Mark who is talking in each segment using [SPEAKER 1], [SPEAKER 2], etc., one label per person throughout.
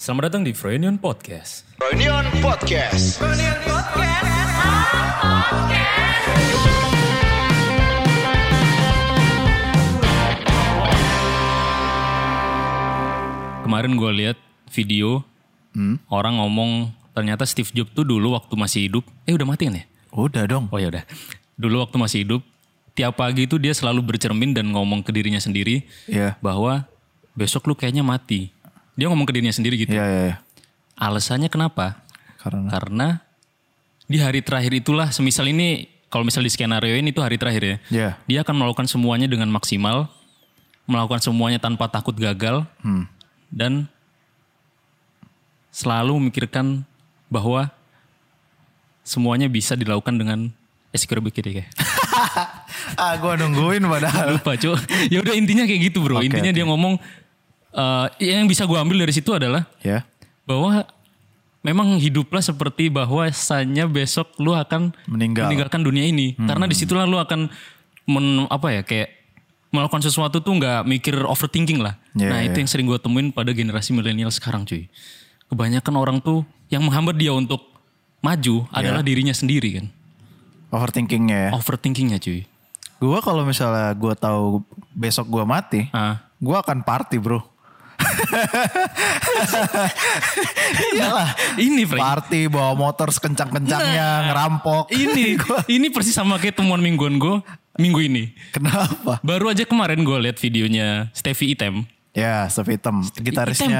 [SPEAKER 1] Selamat datang di Freudian Podcast.
[SPEAKER 2] Reunion Podcast.
[SPEAKER 1] Kemarin gue lihat video
[SPEAKER 3] Hmm?
[SPEAKER 1] orang ngomong ternyata Steve Jobs tuh dulu waktu masih hidup, eh udah mati kan ya?
[SPEAKER 3] Udah dong.
[SPEAKER 1] Oh ya udah. Dulu waktu masih hidup, tiap pagi itu dia selalu bercermin dan ngomong ke dirinya sendiri
[SPEAKER 3] Iya.
[SPEAKER 1] bahwa besok lu kayaknya mati. Dia ngomong ke dirinya sendiri gitu.
[SPEAKER 3] Iya, iya, iya.
[SPEAKER 1] Alasannya kenapa?
[SPEAKER 3] Karena
[SPEAKER 1] Karena di hari terakhir itulah semisal ini kalau misal di skenario ini itu hari terakhir ya.
[SPEAKER 3] Iya.
[SPEAKER 1] Dia akan melakukan semuanya dengan maksimal, melakukan semuanya tanpa takut gagal
[SPEAKER 3] Hmm.
[SPEAKER 1] dan selalu memikirkan bahwa semuanya bisa dilakukan dengan esikor kiri kayak.
[SPEAKER 3] ah gua nungguin padahal.
[SPEAKER 1] Lupa cu. Ya udah intinya kayak gitu bro.
[SPEAKER 3] Oke,
[SPEAKER 1] intinya dia ngomong eh, yang bisa gua ambil dari situ adalah
[SPEAKER 3] ya.
[SPEAKER 1] bahwa memang hiduplah seperti bahwa hanya besok lu akan
[SPEAKER 3] Meninggal.
[SPEAKER 1] meninggalkan dunia ini karena disitulah lu akan men, apa ya kayak melakukan sesuatu tuh nggak mikir overthinking lah
[SPEAKER 3] Iya,
[SPEAKER 1] nah itu
[SPEAKER 3] iya.
[SPEAKER 1] yang sering gue temuin pada generasi milenial sekarang cuy kebanyakan orang tuh yang menghambat dia untuk maju adalah dirinya sendiri kan
[SPEAKER 3] Overthinkingnya ya.
[SPEAKER 1] overthinkingnya cuy
[SPEAKER 3] Gua kalau misalnya gua tahu besok gua mati,
[SPEAKER 1] ah
[SPEAKER 3] gua akan party, Bro. Iyalah,
[SPEAKER 1] ini Frank Nah,
[SPEAKER 3] party bawa motor sekencang-kencangnya, ngerampok.
[SPEAKER 1] ini ini persis sama kayak temuan mingguan gue minggu ini
[SPEAKER 3] Kenapa?
[SPEAKER 1] baru aja kemarin gue liat videonya Stevie Item
[SPEAKER 3] Ya, Steve Item,
[SPEAKER 1] cuy.
[SPEAKER 3] gitarisnya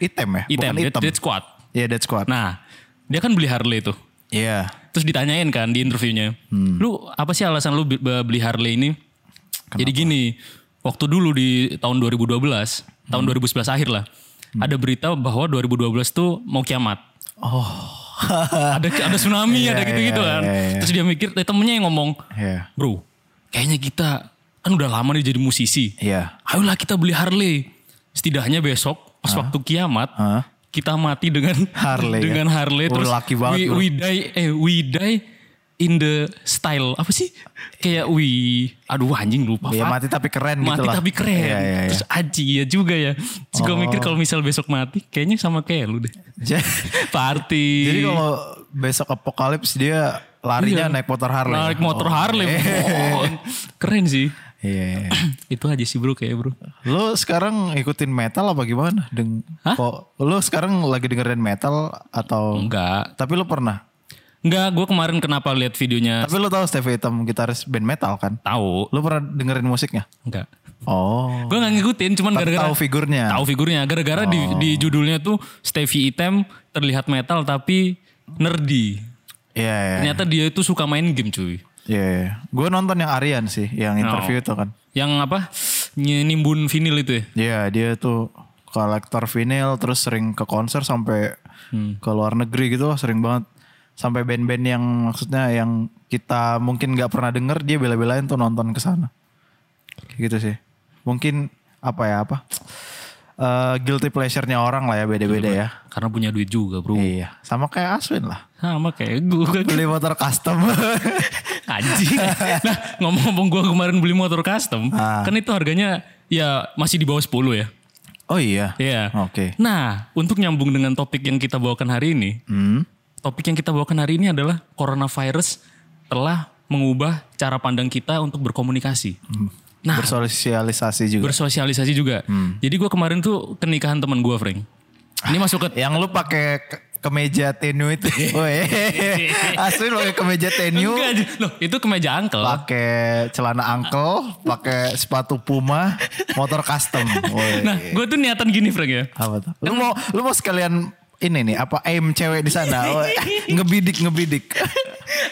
[SPEAKER 3] Item ya,
[SPEAKER 1] Item,
[SPEAKER 3] bukan
[SPEAKER 1] Dead,
[SPEAKER 3] Item.
[SPEAKER 1] Dead Squad.
[SPEAKER 3] Iya, Dead Squad.
[SPEAKER 1] Nah, dia kan beli Harley tuh.
[SPEAKER 3] Iya.
[SPEAKER 1] Terus ditanyain kan di interviewnya,
[SPEAKER 3] Hmm.
[SPEAKER 1] lu apa sih alasan lu be- be- beli Harley ini? Jadi gini, waktu dulu di tahun 2012,
[SPEAKER 3] Hmm.
[SPEAKER 1] tahun 2011 akhir lah, ada berita bahwa 2012 tuh mau kiamat. Oh. ada ada tsunami, ada
[SPEAKER 3] Iya,
[SPEAKER 1] gitu-gitu
[SPEAKER 3] iya,
[SPEAKER 1] kan.
[SPEAKER 3] iya, iya.
[SPEAKER 1] Terus dia mikir, eh, temennya yang ngomong,
[SPEAKER 3] Iya.
[SPEAKER 1] bro, kayaknya kita kan udah lama nih jadi musisi.
[SPEAKER 3] Iya.
[SPEAKER 1] Ayolah kita beli Harley. Setidaknya besok pas waktu kiamat
[SPEAKER 3] Hah?
[SPEAKER 1] kita mati dengan
[SPEAKER 3] Harley, ya?
[SPEAKER 1] dengan Harley
[SPEAKER 3] Oh,
[SPEAKER 1] terus
[SPEAKER 3] lucky banget,
[SPEAKER 1] we,
[SPEAKER 3] bro.
[SPEAKER 1] we die eh we die in the style apa sih kayak we aduh anjing lupa
[SPEAKER 3] Ya,
[SPEAKER 1] Fat.
[SPEAKER 3] mati tapi keren
[SPEAKER 1] mati
[SPEAKER 3] gitu lah.
[SPEAKER 1] tapi keren
[SPEAKER 3] Iya, iya, Oh. iya.
[SPEAKER 1] terus aji ya juga ya terus gue mikir kalau misal besok mati kayaknya sama kayak lu deh
[SPEAKER 3] Ja-
[SPEAKER 1] party
[SPEAKER 3] Jadi kalau besok apokalips dia larinya
[SPEAKER 1] Iya.
[SPEAKER 3] naik motor Harley. ya? Oh,
[SPEAKER 1] naik motor Harley Mon. keren sih
[SPEAKER 3] Iya. iya.
[SPEAKER 1] itu aja sih bro kayak bro
[SPEAKER 3] Lu sekarang ikutin metal apa gimana? Deng
[SPEAKER 1] Hah?
[SPEAKER 3] kok lu sekarang lagi dengerin metal atau
[SPEAKER 1] enggak
[SPEAKER 3] Tapi lu pernah.
[SPEAKER 1] Enggak, gue kemarin kenapa lihat videonya
[SPEAKER 3] Tapi lu tahu Steve Item gitaris band metal kan?
[SPEAKER 1] tahu.
[SPEAKER 3] Lu pernah dengerin musiknya?
[SPEAKER 1] Enggak.
[SPEAKER 3] Oh.
[SPEAKER 1] Gue nggak ngikutin, cuman
[SPEAKER 3] Tapi
[SPEAKER 1] gara-gara
[SPEAKER 3] tahu figurnya. Oh.
[SPEAKER 1] tahu figurnya. Gara-gara di, di judulnya tuh Stevie Item terlihat metal tapi nerdy.
[SPEAKER 3] Iya, iya.
[SPEAKER 1] Ternyata dia itu suka main game cuy.
[SPEAKER 3] Iya, iya. Gue nonton yang Aryan sih, yang
[SPEAKER 1] Oh.
[SPEAKER 3] interview itu kan.
[SPEAKER 1] Yang apa? ny- Nimbun vinil itu ya.
[SPEAKER 3] Iya, dia tuh kolektor vinil terus sering ke konser sampai
[SPEAKER 1] Hmm.
[SPEAKER 3] ke luar negeri gitu loh, sering banget sampai band-band yang maksudnya yang kita mungkin nggak pernah denger dia bela-belain tuh nonton ke sana. Kayak gitu sih. Mungkin apa ya apa? Eh, guilty pleasure-nya orang lah ya beda-beda ya.
[SPEAKER 1] Karena punya duit juga bro.
[SPEAKER 3] Iya, sama kayak Aswin lah.
[SPEAKER 1] Sama kayak gue.
[SPEAKER 3] Beli motor custom.
[SPEAKER 1] Anjing. nah ngomong-ngomong gue kemarin beli motor custom.
[SPEAKER 3] Ah.
[SPEAKER 1] Kan itu harganya ya masih di bawah 10 ya.
[SPEAKER 3] oh iya.
[SPEAKER 1] Iya.
[SPEAKER 3] Oke.
[SPEAKER 1] Nah, untuk nyambung dengan topik yang kita bawakan hari ini,
[SPEAKER 3] Hmm.
[SPEAKER 1] topik yang kita bawakan hari ini adalah coronavirus telah mengubah cara pandang kita untuk berkomunikasi.
[SPEAKER 3] Hmm.
[SPEAKER 1] Nah,
[SPEAKER 3] Bersosialisasi juga.
[SPEAKER 1] bersosialisasi juga.
[SPEAKER 3] Hmm.
[SPEAKER 1] Jadi gue kemarin tuh ke nikahan teman gue, Frank. Ini masuk ke
[SPEAKER 3] Yang lu pakai ke- kemeja tenue itu. Woi. Aswin pakai kemeja tenue,
[SPEAKER 1] Enggak, j- loh, itu kemeja angkel.
[SPEAKER 3] pakai celana angkel, pakai sepatu Puma, motor custom. Woi.
[SPEAKER 1] Nah, gue tuh niatan gini, Frank ya.
[SPEAKER 3] Apa tuh? Lu mau lu mau sekalian ini nih apa aim cewek di sana? Woi. ngebidik ngebidik.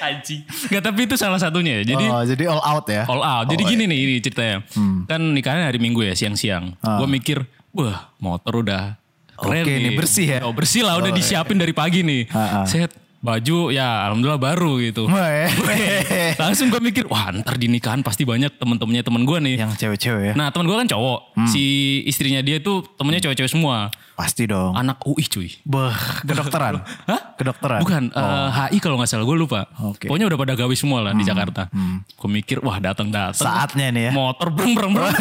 [SPEAKER 1] Aji. Enggak, tapi itu salah satunya ya. Jadi
[SPEAKER 3] oh, Hmm. jadi all out ya.
[SPEAKER 1] all out. Jadi gini nih ini ceritanya. Kan nikahnya hari Minggu ya siang-siang. Gue mikir, wah motor udah keren
[SPEAKER 3] Ah. Oke
[SPEAKER 1] nih.
[SPEAKER 3] nih, bersih ya. Ah,
[SPEAKER 1] Udah bersih lah, udah disiapin dari pagi nih. Set baju ya alhamdulillah baru gitu.
[SPEAKER 3] Woi.
[SPEAKER 1] Langsung gue mikir, wah ntar di nikahan pasti banyak temen-temennya temen gue nih.
[SPEAKER 3] Yang cewek-cewek ya.
[SPEAKER 1] Nah temen gue kan cowok, si istrinya dia tuh temennya cewek-cewek semua.
[SPEAKER 3] Pasti dong.
[SPEAKER 1] Anak UI cuy.
[SPEAKER 3] Beh, kedokteran.
[SPEAKER 1] Hah?
[SPEAKER 3] Kedokteran.
[SPEAKER 1] Bukan, eh, HI kalau nggak salah gue lupa.
[SPEAKER 3] Oh. Oke. Hmm.
[SPEAKER 1] Pokoknya udah pada gawe semua lah di Jakarta. Gue mikir, wah datang datang.
[SPEAKER 3] Saatnya nih ya.
[SPEAKER 1] Motor breng breng breng.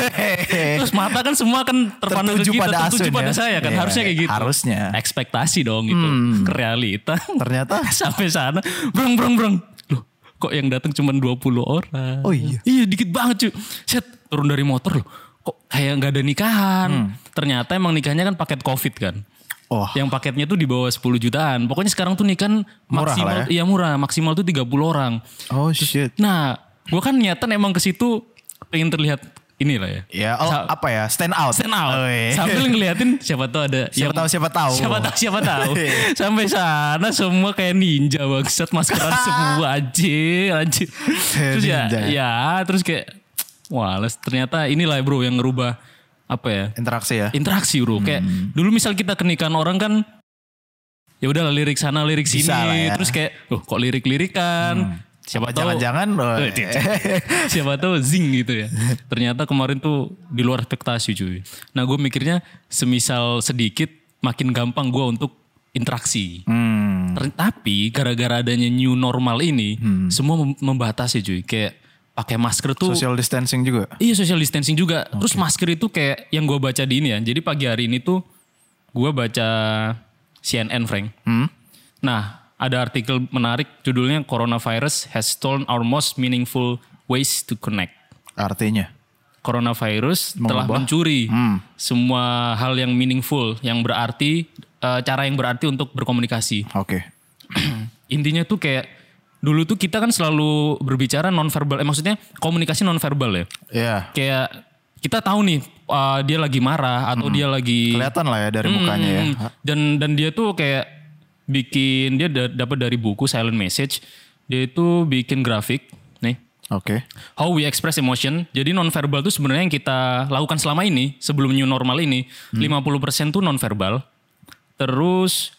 [SPEAKER 1] Terus mata kan semua kan terpandang
[SPEAKER 3] Tertuju
[SPEAKER 1] ke kita,
[SPEAKER 3] pada
[SPEAKER 1] tertuju
[SPEAKER 3] Asun
[SPEAKER 1] pada
[SPEAKER 3] ya.
[SPEAKER 1] saya kan.
[SPEAKER 3] Iya,
[SPEAKER 1] harusnya kayak gitu.
[SPEAKER 3] harusnya. Hmm.
[SPEAKER 1] Ekspektasi dong gitu. Ke realita.
[SPEAKER 3] Ternyata
[SPEAKER 1] Sampai sana, breng breng breng. Loh, kok yang datang cuma 20 orang.
[SPEAKER 3] Oh iya.
[SPEAKER 1] Iya dikit banget cuy. Set, turun dari motor loh. Kok kayak nggak ada nikahan.
[SPEAKER 3] Hmm.
[SPEAKER 1] Ternyata emang nikahnya kan paket covid kan.
[SPEAKER 3] Oh.
[SPEAKER 1] Yang paketnya tuh di bawah 10 jutaan. Pokoknya sekarang tuh nikah
[SPEAKER 3] Murah
[SPEAKER 1] maksimal
[SPEAKER 3] lah ya.
[SPEAKER 1] iya murah, maksimal tuh 30 orang.
[SPEAKER 3] Oh shit.
[SPEAKER 1] Nah, gua kan niatan emang ke situ pengen terlihat inilah ya.
[SPEAKER 3] Ya, oh,
[SPEAKER 1] Sa-
[SPEAKER 3] apa ya? Stand out.
[SPEAKER 1] Stand out.
[SPEAKER 3] Oh, iya.
[SPEAKER 1] Sambil ngeliatin siapa tahu ada
[SPEAKER 3] Siapa tahu, siapa tahu. Iya.
[SPEAKER 1] Siapa tahu siapa tahu. Sampai sana semua kayak ninja bangsat maskeran semua anjir anjir.
[SPEAKER 3] Kayak
[SPEAKER 1] Terus ya,
[SPEAKER 3] ninja.
[SPEAKER 1] ya terus kayak wah les, ternyata inilah bro yang ngerubah apa ya?
[SPEAKER 3] Interaksi ya.
[SPEAKER 1] interaksi bro kayak
[SPEAKER 3] Hmm.
[SPEAKER 1] dulu misal kita ke nikahan orang kan ya udahlah lirik sana lirik sini
[SPEAKER 3] Bisa lah ya. Hmm.
[SPEAKER 1] terus kayak loh kok lirik lirikan siapa tahu
[SPEAKER 3] Jangan-jangan oh,
[SPEAKER 1] Eh, dia- siapa tahu zing gitu ya ternyata kemarin tuh di luar ekspektasi cuy nah gue mikirnya semisal sedikit makin gampang gue untuk interaksi
[SPEAKER 3] Hmm.
[SPEAKER 1] Ter- tapi gara-gara adanya new normal ini semua mem- membatasi cuy kayak pakai masker tuh
[SPEAKER 3] Social distancing juga.
[SPEAKER 1] Iya social distancing juga. Terus masker itu kayak yang gue baca di ini ya. Jadi pagi hari ini tuh gue baca CNN Frank. Nah ada artikel menarik judulnya Coronavirus has stolen our most meaningful ways to connect.
[SPEAKER 3] Artinya.
[SPEAKER 1] Coronavirus telah
[SPEAKER 3] Mengubah.
[SPEAKER 1] mencuri semua hal yang meaningful, yang berarti eh, cara yang berarti untuk berkomunikasi.
[SPEAKER 3] Oke.
[SPEAKER 1] Intinya tuh kayak dulu tuh kita kan selalu berbicara nonverbal. Eh, maksudnya komunikasi nonverbal ya
[SPEAKER 3] Ya.
[SPEAKER 1] kayak kita tahu nih uh, dia lagi marah atau dia lagi
[SPEAKER 3] Kelihatan lah ya dari mukanya ya.
[SPEAKER 1] Hmm, dan dan dia tuh kayak bikin dia da- dapat dari buku Silent Message dia itu bikin grafik nih
[SPEAKER 3] Oke.
[SPEAKER 1] how we express emotion jadi nonverbal tuh sebenarnya yang kita lakukan selama ini sebelum new normal ini
[SPEAKER 3] Hmm.
[SPEAKER 1] 50% tuh nonverbal terus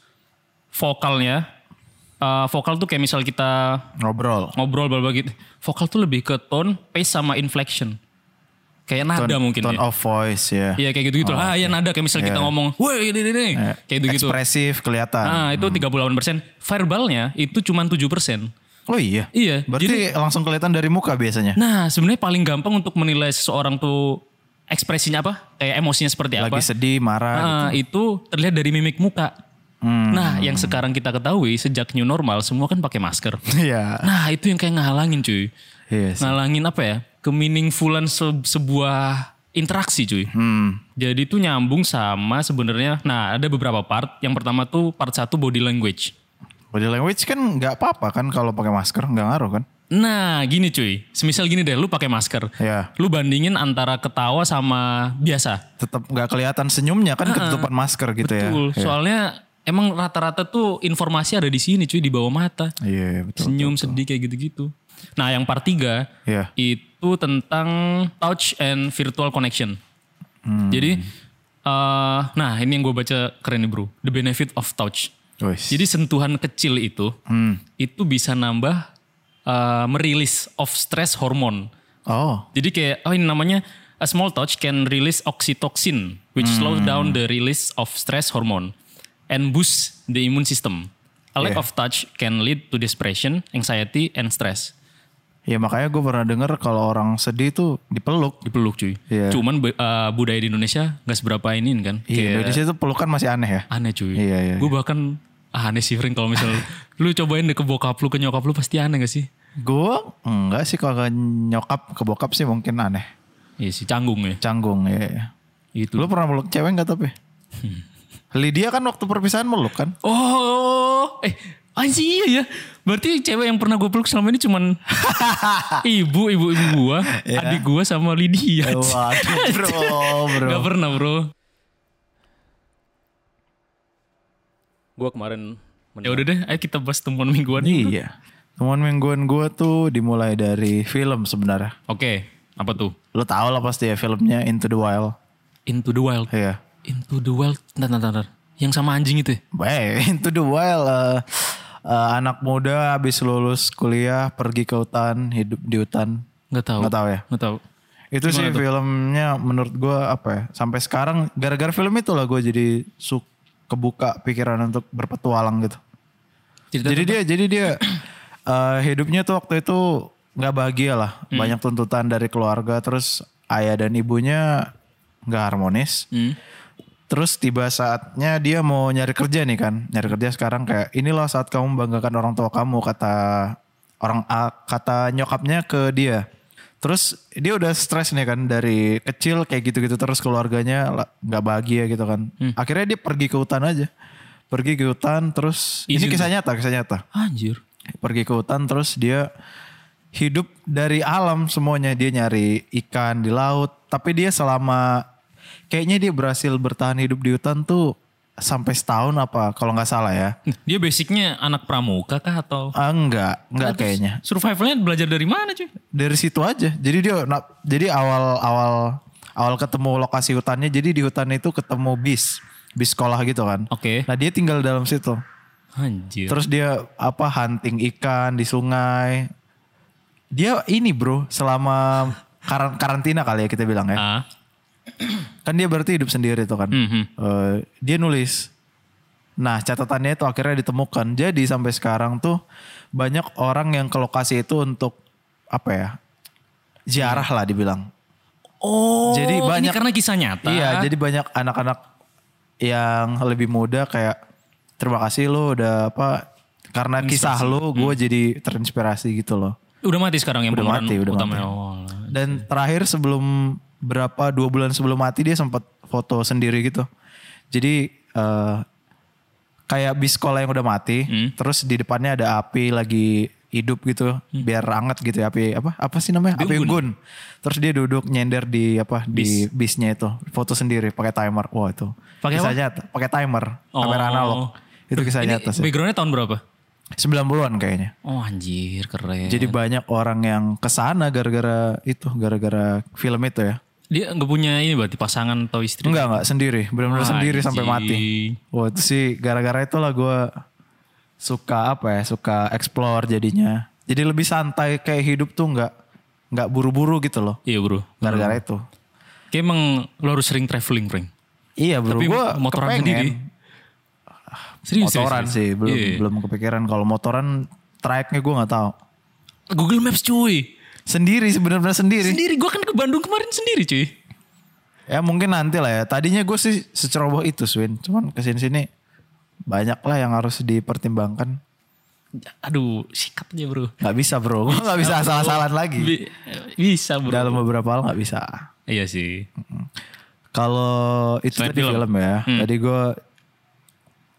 [SPEAKER 1] vokalnya uh, vokal tuh kayak misal kita
[SPEAKER 3] Ngobrol.
[SPEAKER 1] ngobrol berbagai gitu. Vokal tuh lebih ke tone, pace sama inflection. Kayak nada mungkin
[SPEAKER 3] Tone
[SPEAKER 1] ya.
[SPEAKER 3] of voice ya.
[SPEAKER 1] Iya kayak gitu-gitu. ah, ya nada kayak misal kita
[SPEAKER 3] Iya.
[SPEAKER 1] ngomong, "Woi, ini ini." ini." Kayak gitu-gitu.
[SPEAKER 3] Ekspresif kelihatan.
[SPEAKER 1] Nah, itu 38%. Verbalnya itu cuma 7%.
[SPEAKER 3] Oh iya.
[SPEAKER 1] Iya,
[SPEAKER 3] Berarti langsung kelihatan dari muka biasanya.
[SPEAKER 1] Nah, sebenarnya paling gampang untuk menilai seseorang tuh ekspresinya apa? Kayak emosinya seperti Nah, iya, apa?
[SPEAKER 3] Lagi gitu. sedih, marah.
[SPEAKER 1] Ah, itu terlihat dari mimik muka.
[SPEAKER 3] Hmm.
[SPEAKER 1] Nah, yang sekarang kita ketahui sejak new normal semua kan pakai masker.
[SPEAKER 3] Iya.
[SPEAKER 1] Nah, itu yang kayak ngehalangin, cuy.
[SPEAKER 3] Iya. sih.
[SPEAKER 1] ngalangin apa ya kemeaningfulan se- sebuah interaksi cuy
[SPEAKER 3] Hmm.
[SPEAKER 1] jadi itu nyambung sama sebenarnya nah ada beberapa part yang pertama tuh part satu body language
[SPEAKER 3] Body language kan nggak apa-apa kan kalau pakai masker nggak ngaruh kan?
[SPEAKER 1] nah gini cuy semisal gini deh lu pakai masker
[SPEAKER 3] Iya.
[SPEAKER 1] lu bandingin antara ketawa sama biasa
[SPEAKER 3] Tetap nggak kelihatan senyumnya kan ketutupan masker gitu
[SPEAKER 1] Ah.
[SPEAKER 3] ya.
[SPEAKER 1] Betul. soalnya emang rata-rata tuh informasi ada di sini cuy di bawah mata
[SPEAKER 3] Iya betul.
[SPEAKER 1] senyum sedih kayak gitu-gitu nah yang part tiga
[SPEAKER 3] Iya.
[SPEAKER 1] itu tentang touch and virtual connection. Jadi, eh, nah ini yang gue baca keren nih bro, the benefit of touch.
[SPEAKER 3] Wes.
[SPEAKER 1] Jadi sentuhan kecil itu, itu bisa nambah eh, merilis of stress hormone.
[SPEAKER 3] Oh.
[SPEAKER 1] Jadi kayak, oh ini namanya a small touch can release oxytocin, which
[SPEAKER 3] Hmm.
[SPEAKER 1] slows down the release of stress hormone and boosts the immune system. A lack
[SPEAKER 3] Yeah.
[SPEAKER 1] of touch can lead to depression, anxiety, and stress.
[SPEAKER 3] Ya makanya gue pernah denger kalau orang sedih tuh dipeluk.
[SPEAKER 1] dipeluk cuy.
[SPEAKER 3] Iya.
[SPEAKER 1] Cuman be- eh, budaya di Indonesia nggak seberapa ini kan.
[SPEAKER 3] Iya,
[SPEAKER 1] Kayak
[SPEAKER 3] Indonesia tuh pelukan masih aneh ya.
[SPEAKER 1] aneh cuy.
[SPEAKER 3] Iya, iya,
[SPEAKER 1] Gue bahkan ah, aneh sih Fring kalau misalnya lu cobain deh ke bokap lu ke nyokap lu pasti aneh gak sih?
[SPEAKER 3] Gue enggak sih kalau ke nyokap ke bokap sih mungkin aneh.
[SPEAKER 1] Iya sih canggung ya.
[SPEAKER 3] Canggung ya.
[SPEAKER 1] Itu.
[SPEAKER 3] Lu pernah meluk cewek nggak tapi? Lydia kan waktu perpisahan meluk kan?
[SPEAKER 1] Oh, eh anjing iya ya. Berarti cewek yang pernah gue peluk selama ini cuman ibu, ibu, ibu gue, adik gue sama Lydia.
[SPEAKER 3] Waduh bro, bro.
[SPEAKER 1] Gak pernah bro. Gue kemarin. Ya udah deh, ayo kita bahas temuan mingguan.
[SPEAKER 3] Iya. Temuan mingguan gue tuh dimulai dari film sebenarnya.
[SPEAKER 1] Oke, apa tuh?
[SPEAKER 3] Lo tau lah pasti ya filmnya Into the Wild.
[SPEAKER 1] Into the Wild.
[SPEAKER 3] Iya.
[SPEAKER 1] Into the Wild. Ntar, ntar, ntar. Yang sama anjing itu ya?
[SPEAKER 3] Baik, Into the Wild. eh, eh, anak muda habis lulus kuliah pergi ke hutan, hidup di hutan.
[SPEAKER 1] Nggak tahu.
[SPEAKER 3] Nggak tahu ya?
[SPEAKER 1] Nggak tahu.
[SPEAKER 3] Itu sih filmnya menurut gue apa ya. Sampai sekarang gara-gara film itu lah gue jadi suka kebuka pikiran untuk berpetualang gitu.
[SPEAKER 1] Cerita
[SPEAKER 3] jadi dia jadi dia eh, hidupnya tuh waktu itu nggak bahagia lah. Banyak tuntutan dari keluarga terus ayah dan ibunya nggak harmonis.
[SPEAKER 1] Hmm.
[SPEAKER 3] Terus tiba saatnya dia mau nyari kerja nih kan. Nyari kerja sekarang kayak inilah saat kamu membanggakan orang tua kamu kata orang A, kata nyokapnya ke dia. Terus dia udah stres nih kan dari kecil kayak gitu-gitu terus keluarganya la- nggak bahagia gitu kan. Akhirnya dia pergi ke hutan aja. Pergi ke hutan terus ini
[SPEAKER 1] Izin.
[SPEAKER 3] kisah nyata, kisah nyata.
[SPEAKER 1] Anjir.
[SPEAKER 3] Pergi ke hutan terus dia hidup dari alam semuanya dia nyari ikan di laut tapi dia selama kayaknya dia berhasil bertahan hidup di hutan tuh sampai setahun apa kalau nggak salah ya
[SPEAKER 1] Dia basicnya anak pramuka kah atau
[SPEAKER 3] ah, enggak enggak kayaknya
[SPEAKER 1] Nah, survivalnya belajar dari mana cuy?
[SPEAKER 3] dari situ aja jadi dia na- jadi awal awal awal ketemu lokasi hutannya jadi di hutan itu ketemu bis bis sekolah gitu kan
[SPEAKER 1] Oke.
[SPEAKER 3] nah dia tinggal dalam situ
[SPEAKER 1] Anjir.
[SPEAKER 3] Terus dia apa hunting ikan di sungai. Dia ini bro selama karan- karantina kali ya kita bilang ya.
[SPEAKER 1] Ah.
[SPEAKER 3] Kan dia berarti hidup sendiri tuh kan.
[SPEAKER 1] Mhm.
[SPEAKER 3] Eh, dia nulis. Nah catatannya itu akhirnya ditemukan. Jadi sampai sekarang tuh banyak orang yang ke lokasi itu untuk apa ya. Ziarah lah dibilang.
[SPEAKER 1] Oh,
[SPEAKER 3] Jadi
[SPEAKER 1] ini
[SPEAKER 3] banyak-
[SPEAKER 1] karena kisah nyata.
[SPEAKER 3] Iya, jadi banyak anak-anak yang lebih muda kayak terima kasih lo udah apa karena kisah lo gue jadi terinspirasi gitu loh.
[SPEAKER 1] udah mati sekarang yang
[SPEAKER 3] Udah
[SPEAKER 1] pemeran
[SPEAKER 3] mati, udah
[SPEAKER 1] utamanya.
[SPEAKER 3] mati.
[SPEAKER 1] Oh, lah.
[SPEAKER 3] Dan terakhir sebelum berapa dua bulan sebelum mati dia sempat foto sendiri gitu. Jadi eh, kayak bis sekolah yang udah mati,
[SPEAKER 1] Hmm.
[SPEAKER 3] terus di depannya ada api lagi hidup gitu,
[SPEAKER 1] Hmm.
[SPEAKER 3] biar anget gitu ya, api apa apa sih namanya api unggun. Terus dia duduk nyender di apa di bisnya itu, foto sendiri pakai timer. Wah itu.
[SPEAKER 1] Pakai
[SPEAKER 3] kisah
[SPEAKER 1] apa?
[SPEAKER 3] nyata, pakai timer,
[SPEAKER 1] Oh.
[SPEAKER 3] kamera analog. Itu kisah
[SPEAKER 1] Ini
[SPEAKER 3] nyata sih.
[SPEAKER 1] backgroundnya tahun berapa?
[SPEAKER 3] 90-an kayaknya.
[SPEAKER 1] Oh anjir keren.
[SPEAKER 3] Jadi banyak orang yang kesana gara-gara itu, gara-gara film itu ya.
[SPEAKER 1] dia nggak punya ini berarti pasangan atau istri? Ah,
[SPEAKER 3] Enggak, enggak. Sendiri. Benar-benar sendiri
[SPEAKER 1] Gitu. Anjing.
[SPEAKER 3] sampai mati. Wah itu sih gara-gara itulah gue suka apa ya, suka explore jadinya. Jadi lebih santai kayak hidup tuh enggak, enggak buru-buru gitu loh.
[SPEAKER 1] Iya bro.
[SPEAKER 3] Gara-gara itu.
[SPEAKER 1] Kayak emang lo harus sering traveling, Frank.
[SPEAKER 3] Iya bro,
[SPEAKER 1] Tapi
[SPEAKER 3] gue
[SPEAKER 1] motoran
[SPEAKER 3] kepengen.
[SPEAKER 1] sendiri. Serius,
[SPEAKER 3] Motoran
[SPEAKER 1] serius,
[SPEAKER 3] sih,
[SPEAKER 1] serius.
[SPEAKER 3] belum,
[SPEAKER 1] Iya.
[SPEAKER 3] belum kepikiran. Kalau motoran trayeknya gue gak tahu.
[SPEAKER 1] Google Maps cuy.
[SPEAKER 3] Sendiri sih, benar-benar sendiri.
[SPEAKER 1] Sendiri, gue kan ke Bandung kemarin sendiri cuy.
[SPEAKER 3] Ya mungkin nanti lah ya. Tadinya gue sih seceroboh itu Swin. Cuman kesini-sini banyak lah yang harus dipertimbangkan.
[SPEAKER 1] Aduh, sikat aja bro.
[SPEAKER 3] Gak bisa bro, gue gak bisa asal-asalan lagi.
[SPEAKER 1] Bi- bisa bro.
[SPEAKER 3] Dalam beberapa hal gak bisa.
[SPEAKER 1] Iya sih.
[SPEAKER 3] Kalau itu
[SPEAKER 1] Selain
[SPEAKER 3] tadi film,
[SPEAKER 1] film. Hmm.
[SPEAKER 3] ya, tadi gue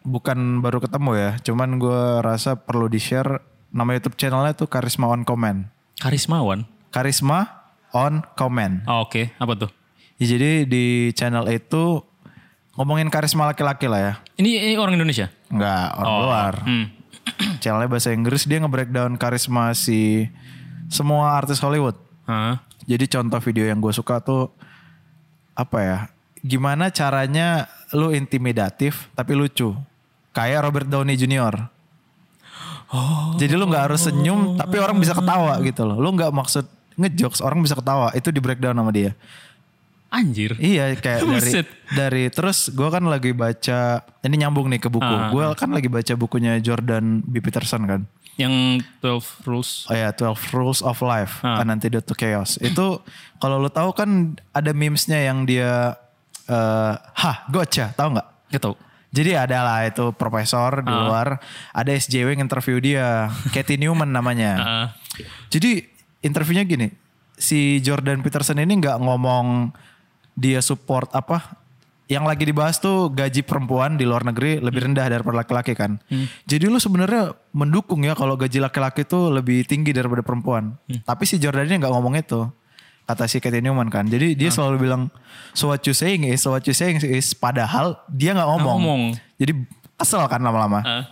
[SPEAKER 3] bukan baru ketemu ya, cuman gue rasa perlu di-share nama YouTube channelnya tuh Karisma On Comment.
[SPEAKER 1] Karismawan.
[SPEAKER 3] Karisma On Comment.
[SPEAKER 1] Oh, Oke, apa tuh?
[SPEAKER 3] Ya, jadi di channel itu ngomongin karisma laki-laki lah ya.
[SPEAKER 1] Ini, ini orang Indonesia?
[SPEAKER 3] Enggak, orang luar.
[SPEAKER 1] Hmm.
[SPEAKER 3] channelnya bahasa Inggris dia nge-breakdown karisma si semua artis Hollywood.
[SPEAKER 1] Hah?
[SPEAKER 3] Jadi contoh video yang gue suka tuh apa ya? Gimana caranya lu intimidatif tapi lucu. Kayak Robert Downey Jr. Jadi lu nggak harus senyum tapi orang bisa ketawa gitu loh. Lu nggak maksud ngejokes orang bisa ketawa. Itu di breakdown sama dia.
[SPEAKER 1] Anjir.
[SPEAKER 3] Iya kayak dari
[SPEAKER 1] Buset.
[SPEAKER 3] dari terus gue kan lagi baca ini nyambung nih ke buku. Gue kan lagi baca bukunya Jordan B Peterson kan.
[SPEAKER 1] Yang 12 Rules.
[SPEAKER 3] Oh ya, 12 Rules of Life, An Antidote to Chaos. Itu kalau lu tahu kan ada memesnya yang dia eh hah, gocha, tahu nggak?
[SPEAKER 1] Gak tau.
[SPEAKER 3] Jadi ada lah itu profesor di luar, ada SJW yang interview dia, Katie Newman namanya.
[SPEAKER 1] Ah.
[SPEAKER 3] Jadi interviewnya gini, si Jordan Peterson ini nggak ngomong dia support apa? Yang lagi dibahas tuh gaji perempuan di luar negeri lebih rendah daripada laki-laki kan. Jadi lu sebenarnya mendukung ya kalau gaji laki-laki tuh lebih tinggi daripada perempuan. Tapi si Jordan ini nggak ngomong itu. Kata si Katie Newman kan. Jadi dia selalu bilang so what you saying is so what you saying is padahal dia nggak ngomong.
[SPEAKER 1] ngomong.
[SPEAKER 3] Jadi kesel kan lama-lama.
[SPEAKER 1] ah.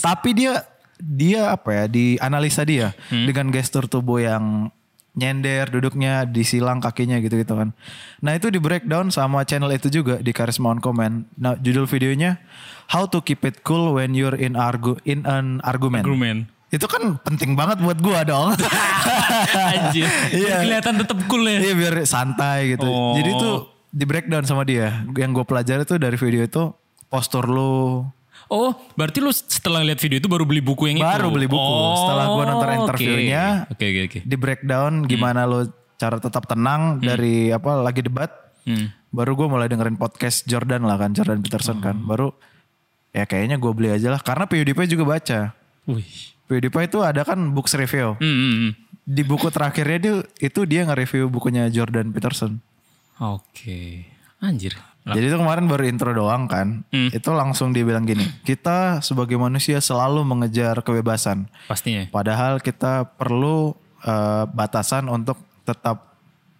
[SPEAKER 3] Tapi dia dia apa ya di analisa dia dengan gestur tubuh yang nyender duduknya disilang kakinya gitu-gitu kan. Nah itu di breakdown sama channel itu juga di Karisma on Comment. Nah judul videonya How to Keep It Cool When You're in argu in an argument.
[SPEAKER 1] Grumman.
[SPEAKER 3] Itu kan penting banget buat gua dong.
[SPEAKER 1] Anjir.
[SPEAKER 3] Iya.
[SPEAKER 1] Kelihatan tetap cool ya.
[SPEAKER 3] Iya biar santai gitu.
[SPEAKER 1] Oh.
[SPEAKER 3] Jadi tuh di breakdown sama dia. Yang gue pelajari tuh dari video itu postur lu.
[SPEAKER 1] Oh, berarti lu setelah lihat video itu baru beli buku yang itu? Oh,
[SPEAKER 3] Baru beli buku. Setelah gua nonton
[SPEAKER 1] oke.
[SPEAKER 3] interviewnya.
[SPEAKER 1] Oke, oke, oke.
[SPEAKER 3] Di
[SPEAKER 1] Hmm.
[SPEAKER 3] breakdown gimana lu cara tetap tenang dari apa lagi debat.
[SPEAKER 1] Hmm.
[SPEAKER 3] Baru gue mulai dengerin podcast Jordan lah kan, Jordan Peterson kan.
[SPEAKER 1] Hmm.
[SPEAKER 3] Baru ya kayaknya gue beli aja lah. Karena PewDiePie juga baca.
[SPEAKER 1] Wih.
[SPEAKER 3] PewDiePie itu ada kan books review.
[SPEAKER 1] Hmm, hmm, hmm.
[SPEAKER 3] Di buku terakhirnya dia itu dia nge-review bukunya Jordan Peterson.
[SPEAKER 1] Oke. Anjir. Lah, Hmm.
[SPEAKER 3] Jadi itu kemarin baru intro doang kan. Itu langsung dia bilang gini, kita sebagai manusia selalu mengejar kebebasan.
[SPEAKER 1] Pastinya.
[SPEAKER 3] Padahal kita perlu eh, batasan untuk tetap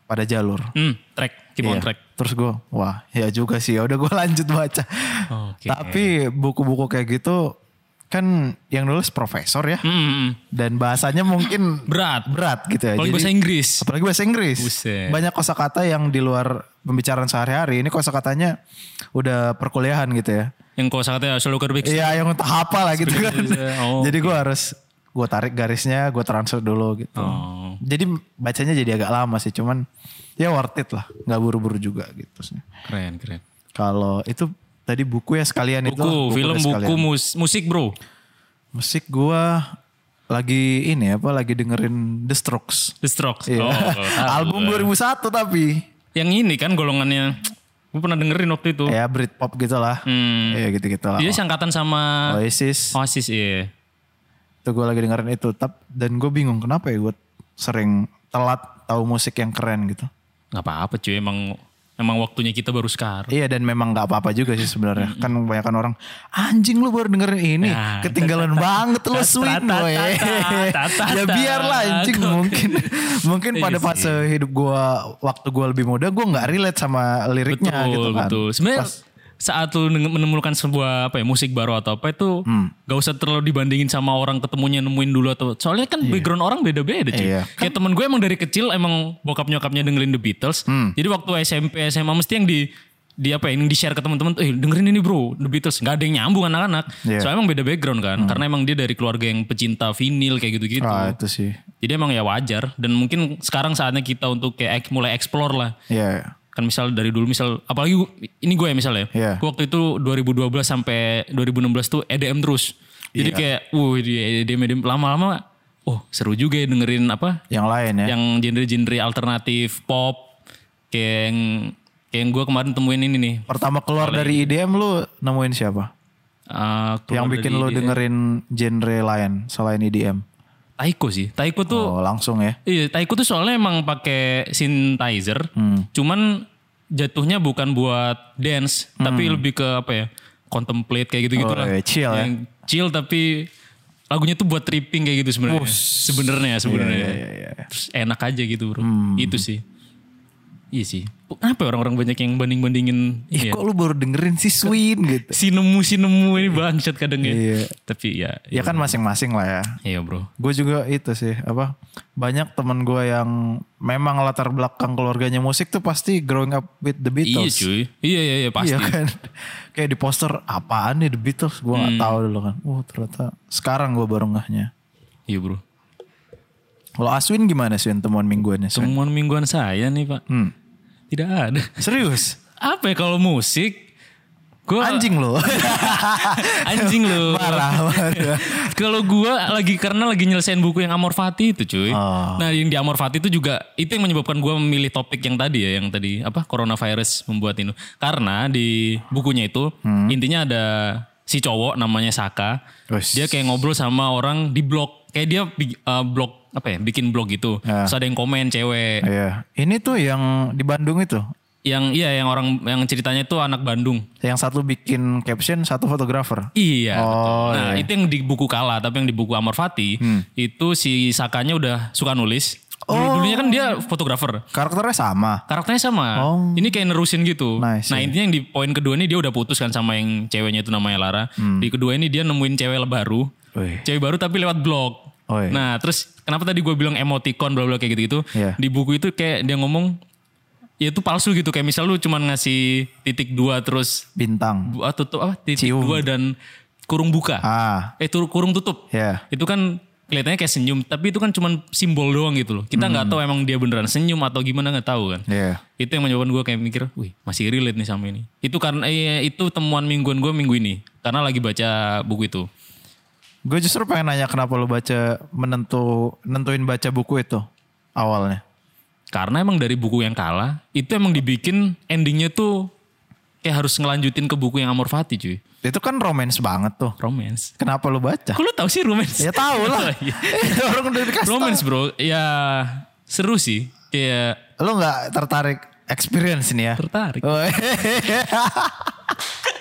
[SPEAKER 3] pada jalur.
[SPEAKER 1] Hmm, track. Keep on
[SPEAKER 3] Iya.
[SPEAKER 1] track.
[SPEAKER 3] Terus gue, wah ya juga sih. Ya udah gue lanjut baca.
[SPEAKER 1] Oke.
[SPEAKER 3] Tapi buku-buku kayak gitu kan yang nulis profesor ya.
[SPEAKER 1] Hmm, hmm, hmm.
[SPEAKER 3] Dan bahasanya mungkin
[SPEAKER 1] Berat.
[SPEAKER 3] berat gitu ya.
[SPEAKER 1] Apalagi
[SPEAKER 3] Jadi-
[SPEAKER 1] bahasa Inggris.
[SPEAKER 3] Apalagi bahasa Inggris.
[SPEAKER 1] Buset.
[SPEAKER 3] Banyak kosakata yang di luar pembicaraan sehari-hari. Ini kosakatanya udah perkuliahan gitu ya.
[SPEAKER 1] Yang kau katanya selalu kerbik.
[SPEAKER 3] Iya, yang untuk apa lah gitu kan.
[SPEAKER 1] Oh,
[SPEAKER 3] jadi gue harus gue tarik garisnya, gue transfer dulu gitu.
[SPEAKER 1] Oh.
[SPEAKER 3] Jadi bacanya jadi agak lama sih, cuman ya worth it lah, nggak buru-buru juga gitu sih.
[SPEAKER 1] Keren, keren.
[SPEAKER 3] Kalau itu tadi buku ya sekalian itu.
[SPEAKER 1] Buku, film,
[SPEAKER 3] deh
[SPEAKER 1] buku,
[SPEAKER 3] sekalian.
[SPEAKER 1] mus- musik bro.
[SPEAKER 3] Musik gue lagi ini apa lagi dengerin The Strokes.
[SPEAKER 1] The Strokes.
[SPEAKER 3] Iya.
[SPEAKER 1] Oh, tahu.
[SPEAKER 3] Album 2001 tapi
[SPEAKER 1] Yang ini kan golongannya. Gue pernah dengerin waktu itu.
[SPEAKER 3] ya Britpop gitu lah.
[SPEAKER 1] Oh. Hmm.
[SPEAKER 3] Ya gitu-gitu lah.
[SPEAKER 1] Dia sangkatan sama
[SPEAKER 3] Oasis.
[SPEAKER 1] Oasis, iya.
[SPEAKER 3] Itu gue lagi dengerin itu. Tap, dan gue bingung kenapa ya gue sering telat tahu musik yang keren gitu.
[SPEAKER 1] Gak apa-apa cuy, emang emang waktunya kita baru sekarang.
[SPEAKER 3] Iya dan memang gak apa-apa juga sih sebenarnya. Kan kebanyakan orang, anjing lu baru dengerin ini.
[SPEAKER 1] Nah,
[SPEAKER 3] ketinggalan banget lu sweet
[SPEAKER 1] tata,
[SPEAKER 3] boy.
[SPEAKER 1] tata, tata,
[SPEAKER 3] ya biarlah anjing
[SPEAKER 1] tata.
[SPEAKER 3] mungkin. mungkin pada
[SPEAKER 1] Iya
[SPEAKER 3] fase hidup gue, waktu gue lebih muda gue gak relate sama liriknya
[SPEAKER 1] betul,
[SPEAKER 3] gitu kan.
[SPEAKER 1] betul. Sebenarnya saat lu neng- menemukan sebuah apa ya musik baru atau apa itu
[SPEAKER 3] Hmm.
[SPEAKER 1] gak usah terlalu dibandingin sama orang ketemunya nemuin dulu atau soalnya kan background orang beda-beda cuy.
[SPEAKER 3] Iya.
[SPEAKER 1] Kayak temen gue emang dari kecil emang bokap nyokapnya dengerin The Beatles.
[SPEAKER 3] Hmm.
[SPEAKER 1] Jadi waktu SMP SMA mesti yang di di apa ya, yang di share ke teman-teman, eh dengerin ini bro, The Beatles nggak ada yang nyambung anak-anak.
[SPEAKER 3] Iya.
[SPEAKER 1] Soalnya emang beda background kan, karena emang dia dari keluarga yang pecinta vinil kayak gitu-gitu.
[SPEAKER 3] Ah itu sih.
[SPEAKER 1] Jadi emang ya wajar dan mungkin sekarang saatnya kita untuk kayak ek- mulai explore lah.
[SPEAKER 3] Iya.
[SPEAKER 1] Kan misal dari dulu misal apalagi gu- ini gue ya misalnya.
[SPEAKER 3] Iya.
[SPEAKER 1] Gue waktu itu 2012 sampai 2016 tuh EDM terus.
[SPEAKER 3] Iya.
[SPEAKER 1] Jadi kayak uh di EDM EDM lama-lama oh seru juga ya dengerin apa
[SPEAKER 3] Yang lain ya.
[SPEAKER 1] yang genre-genre alternatif pop kayak yang kayak yang gue kemarin temuin ini nih.
[SPEAKER 3] Pertama keluar dari IDM lu nemuin siapa?
[SPEAKER 1] Eh, keluar
[SPEAKER 3] yang bikin
[SPEAKER 1] dari
[SPEAKER 3] lo dengerin genre lain selain EDM.
[SPEAKER 1] Taiko sih. Taiko tuh
[SPEAKER 3] Oh, langsung ya.
[SPEAKER 1] Iya, Taiko tuh soalnya emang pakai synthesizer,
[SPEAKER 3] Hmm.
[SPEAKER 1] cuman jatuhnya bukan buat dance, tapi lebih ke apa ya, contemplate kayak gitu-gitu
[SPEAKER 3] Hmm. Oh,
[SPEAKER 1] lah.
[SPEAKER 3] iya, chill ya.
[SPEAKER 1] Yang Chill tapi lagunya tuh buat tripping kayak gitu sebenarnya. Sebenarnya
[SPEAKER 3] Iya,
[SPEAKER 1] sebenarnya. Terus enak aja gitu, Bro.
[SPEAKER 3] Hmm.
[SPEAKER 1] Itu sih. Iya sih. Kenapa ya orang-orang banyak yang banding-bandingin ini
[SPEAKER 3] Ih,
[SPEAKER 1] ya?
[SPEAKER 3] Iya, kok lu baru dengerin si Swin
[SPEAKER 1] Iya.
[SPEAKER 3] gitu.
[SPEAKER 1] Si nemu si nemu ini bangsat kadang ya.
[SPEAKER 3] Iya.
[SPEAKER 1] Tapi ya
[SPEAKER 3] Ya kan masing-masing lah ya.
[SPEAKER 1] iya, Bro.
[SPEAKER 3] Gue juga itu sih, apa? Banyak temen gue yang memang latar belakang keluarganya musik tuh pasti growing up with The
[SPEAKER 1] Iya,
[SPEAKER 3] Beatles.
[SPEAKER 1] cuy. Iya, iya, iya pasti.
[SPEAKER 3] Iya kan. Kayak di poster apaan nih The Beatles, gue nggak
[SPEAKER 1] Hmm.
[SPEAKER 3] tahu dulu kan. Oh, ternyata sekarang gue baru ngahnya.
[SPEAKER 1] Iya, Bro.
[SPEAKER 3] Kalau Aswin gimana Swin temuan mingguannya? Swin?
[SPEAKER 1] Temuan mingguan saya nih, Pak.
[SPEAKER 3] Hmm.
[SPEAKER 1] Tidak ada.
[SPEAKER 3] Serius?
[SPEAKER 1] Apa ya kalau musik? Gua
[SPEAKER 3] Anjing lo.
[SPEAKER 1] anjing lu.
[SPEAKER 3] Parah. parah.
[SPEAKER 1] kalau gua lagi karena lagi nyelesain buku yang Amor Fati itu, cuy.
[SPEAKER 3] Oh.
[SPEAKER 1] Nah, yang di Amor Fati itu juga itu yang menyebabkan gua memilih topik yang tadi ya, yang tadi apa? Coronavirus membuat ini. Karena di bukunya itu
[SPEAKER 3] Hmm.
[SPEAKER 1] intinya ada si cowok namanya Saka.
[SPEAKER 3] Wes.
[SPEAKER 1] Dia kayak ngobrol sama orang di blog. Kayak dia bi- eh, blog apa ya? Bikin blog gitu.
[SPEAKER 3] Ya.
[SPEAKER 1] Terus ada yang komen cewek.
[SPEAKER 3] Iya. Ini tuh yang di Bandung itu.
[SPEAKER 1] Yang iya yang orang yang ceritanya itu anak Bandung.
[SPEAKER 3] Yang satu bikin caption, satu fotografer.
[SPEAKER 1] Iya. betul.
[SPEAKER 3] Oh,
[SPEAKER 1] Nah itu yang di buku Kala, tapi yang di buku Amor Fati
[SPEAKER 3] Hmm.
[SPEAKER 1] itu si Sakanya udah suka nulis.
[SPEAKER 3] Oh.
[SPEAKER 1] Dulu dulunya kan dia fotografer.
[SPEAKER 3] Karakternya sama.
[SPEAKER 1] Karakternya sama. Ini kayak nerusin gitu.
[SPEAKER 3] Oh. Nice, iya.
[SPEAKER 1] nah intinya yang di poin kedua ini dia udah putus kan sama yang ceweknya itu namanya Lara.
[SPEAKER 3] Hmm.
[SPEAKER 1] Di kedua ini dia nemuin cewek baru.
[SPEAKER 3] Wih.
[SPEAKER 1] Cewek baru tapi lewat blog.
[SPEAKER 3] Oh, iya.
[SPEAKER 1] Nah terus kenapa tadi gue bilang emoticon bla bla kayak gitu gitu.
[SPEAKER 3] Iya.
[SPEAKER 1] Di buku itu kayak dia ngomong ya itu palsu gitu. Kayak misal lu cuman ngasih titik dua terus
[SPEAKER 3] Bintang.
[SPEAKER 1] bu- ah, atau tuh apa titik dua dan kurung buka
[SPEAKER 3] Ah,
[SPEAKER 1] eh tur- kurung tutup
[SPEAKER 3] ya.
[SPEAKER 1] itu kan kelihatannya kayak senyum, tapi itu kan cuman simbol doang gitu loh. Kita nggak
[SPEAKER 3] Hmm.
[SPEAKER 1] tahu emang dia beneran senyum atau gimana nggak tahu kan.
[SPEAKER 3] Iya.
[SPEAKER 1] Itu yang menyebabkan gue kayak mikir, wih masih relate nih sama ini. Itu karena eh, itu temuan mingguan gue minggu ini, karena lagi baca buku itu.
[SPEAKER 3] Gue justru pengen nanya kenapa lu baca menentu nentuin baca buku itu awalnya.
[SPEAKER 1] Karena emang dari buku yang kalah, itu emang dibikin endingnya tuh kayak harus ngelanjutin ke buku yang Amor Fati cuy.
[SPEAKER 3] Itu kan romance banget tuh.
[SPEAKER 1] Romance.
[SPEAKER 3] Kenapa lu baca?
[SPEAKER 1] Kok lu tau sih romance?
[SPEAKER 3] Ya tahu lah.
[SPEAKER 1] Oh, iya.
[SPEAKER 3] Eh, Orang udah dikasih tahu.
[SPEAKER 1] romance bro, ya seru sih. Kayak
[SPEAKER 3] Lu nggak tertarik experience nih ya?
[SPEAKER 1] tertarik.
[SPEAKER 3] Oh,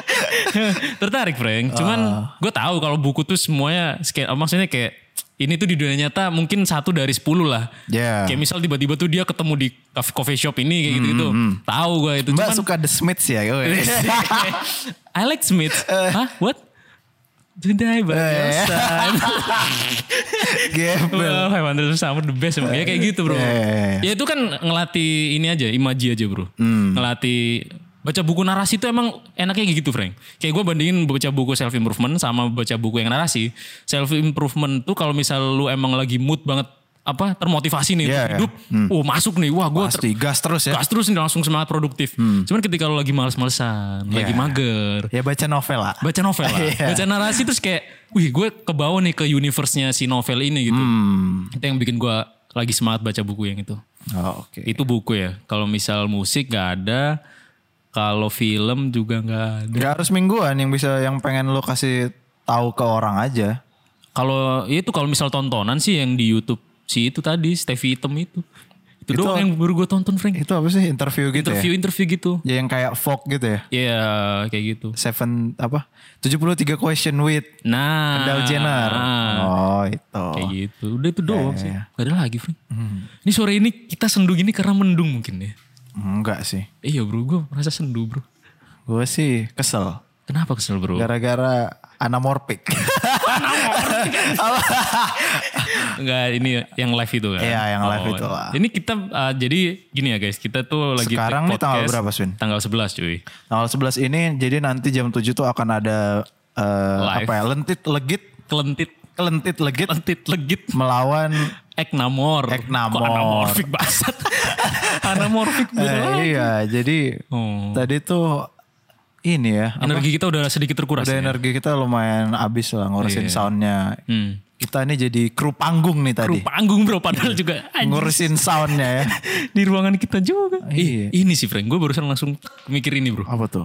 [SPEAKER 1] tertarik Frank. Cuman
[SPEAKER 3] Ah.
[SPEAKER 1] gue tahu kalau buku tuh semuanya sca- maksudnya kayak ini tuh di dunia nyata mungkin satu dari sepuluh lah.
[SPEAKER 3] Ya.
[SPEAKER 1] Kayak misal tiba-tiba tuh dia ketemu di cafe- coffee shop ini kayak gitu-gitu. Tahu gue itu.
[SPEAKER 3] Hmm, Mbak
[SPEAKER 1] Cuman
[SPEAKER 3] suka The Smiths ya? Oh, iya.
[SPEAKER 1] I like Smith. Hah? What? Today by your
[SPEAKER 3] Eh.
[SPEAKER 1] side.
[SPEAKER 3] Gembel.
[SPEAKER 1] Well, 500 Summer the best emang. Ya kayak gitu bro.
[SPEAKER 3] Eh.
[SPEAKER 1] Ya itu kan ngelatih ini aja, imaji aja bro.
[SPEAKER 3] Hmm.
[SPEAKER 1] Ngelatih baca buku narasi itu emang enaknya kayak gitu Frank. Kayak gue bandingin baca buku self improvement sama baca buku yang narasi. Self improvement tuh kalau misal lu emang lagi mood banget apa termotivasi nih
[SPEAKER 3] Iya,
[SPEAKER 1] untuk
[SPEAKER 3] iya.
[SPEAKER 1] hidup, oh masuk nih, wah gue
[SPEAKER 3] Pasti Hmm. gas terus ya.
[SPEAKER 1] gas terus nih langsung semangat produktif. Cuman ketika lu lagi males-malesan,
[SPEAKER 3] Iya.
[SPEAKER 1] lagi mager,
[SPEAKER 3] Ya baca novel lah.
[SPEAKER 1] baca novel lah.
[SPEAKER 3] Iya.
[SPEAKER 1] Baca narasi terus kayak, wih gue ke bawah nih ke universe-nya si novel ini gitu.
[SPEAKER 3] Hmm.
[SPEAKER 1] Itu yang bikin gue lagi semangat baca buku yang itu.
[SPEAKER 3] Oh, oke.
[SPEAKER 1] Itu buku ya. Kalau misal musik gak ada. Kalau film juga gak ada.
[SPEAKER 3] Gak harus mingguan yang bisa yang pengen lu kasih tahu ke orang aja.
[SPEAKER 1] Kalau ya itu kalau misal tontonan sih yang di Youtube. Si itu tadi, Stevie Item itu. Itu,
[SPEAKER 3] Itu- Iya.
[SPEAKER 1] doang yang baru gue tonton Frank.
[SPEAKER 3] Itu apa sih interview gitu ya?
[SPEAKER 1] Interview-interview gitu.
[SPEAKER 3] Ya yang kayak folk gitu ya.
[SPEAKER 1] Iya kayak gitu.
[SPEAKER 3] Seven apa? 73 question with
[SPEAKER 1] Nah.
[SPEAKER 3] Kendall Jenner. Oh, itu.
[SPEAKER 1] Kayak gitu. Udah itu doang
[SPEAKER 3] Iya,
[SPEAKER 1] sih.
[SPEAKER 3] iya.
[SPEAKER 1] Gak ada lagi, Frank. Ini sore ini kita sendu gini karena mendung mungkin ya.
[SPEAKER 3] Enggak sih.
[SPEAKER 1] Iya bro, gue merasa sendu bro.
[SPEAKER 3] Gue sih kesel.
[SPEAKER 1] Kenapa kesel bro?
[SPEAKER 3] Gara-gara anamorphic.
[SPEAKER 1] Enggak, ini yang live itu kan?
[SPEAKER 3] Iya, yang live itu lah.
[SPEAKER 1] Ini kita, uh, jadi gini ya guys, kita tuh lagi
[SPEAKER 3] Sekarang
[SPEAKER 1] take
[SPEAKER 3] nih tanggal
[SPEAKER 1] podcast
[SPEAKER 3] berapa, Swin?
[SPEAKER 1] Tanggal 11 cuy.
[SPEAKER 3] Tanggal 11 ini jadi nanti jam 7 tuh akan ada eh,
[SPEAKER 1] Live.
[SPEAKER 3] apa ya? Lentit legit,
[SPEAKER 1] Kelentit,
[SPEAKER 3] kelentit legit
[SPEAKER 1] kelentit legit.
[SPEAKER 3] melawan
[SPEAKER 1] Eknamor.
[SPEAKER 3] Eknamor.
[SPEAKER 1] Kok anamorfik basat? anamorfik
[SPEAKER 3] eh,
[SPEAKER 1] beneran.
[SPEAKER 3] iya, jadi
[SPEAKER 1] Oh.
[SPEAKER 3] tadi tuh ini ya, apa,
[SPEAKER 1] Energi kita udah sedikit terkuras.
[SPEAKER 3] udah
[SPEAKER 1] ya?
[SPEAKER 3] energi kita lumayan abis lah
[SPEAKER 1] Iya.
[SPEAKER 3] ngurusin soundnya.
[SPEAKER 1] Hmm.
[SPEAKER 3] Kita ini jadi kru panggung nih tadi.
[SPEAKER 1] Kru panggung bro, padahal juga anjing.
[SPEAKER 3] Ngurusin soundnya ya.
[SPEAKER 1] di ruangan kita juga.
[SPEAKER 3] Iya.
[SPEAKER 1] Ih, ini sih Frank, gue barusan langsung mikir ini bro.
[SPEAKER 3] Apa tuh?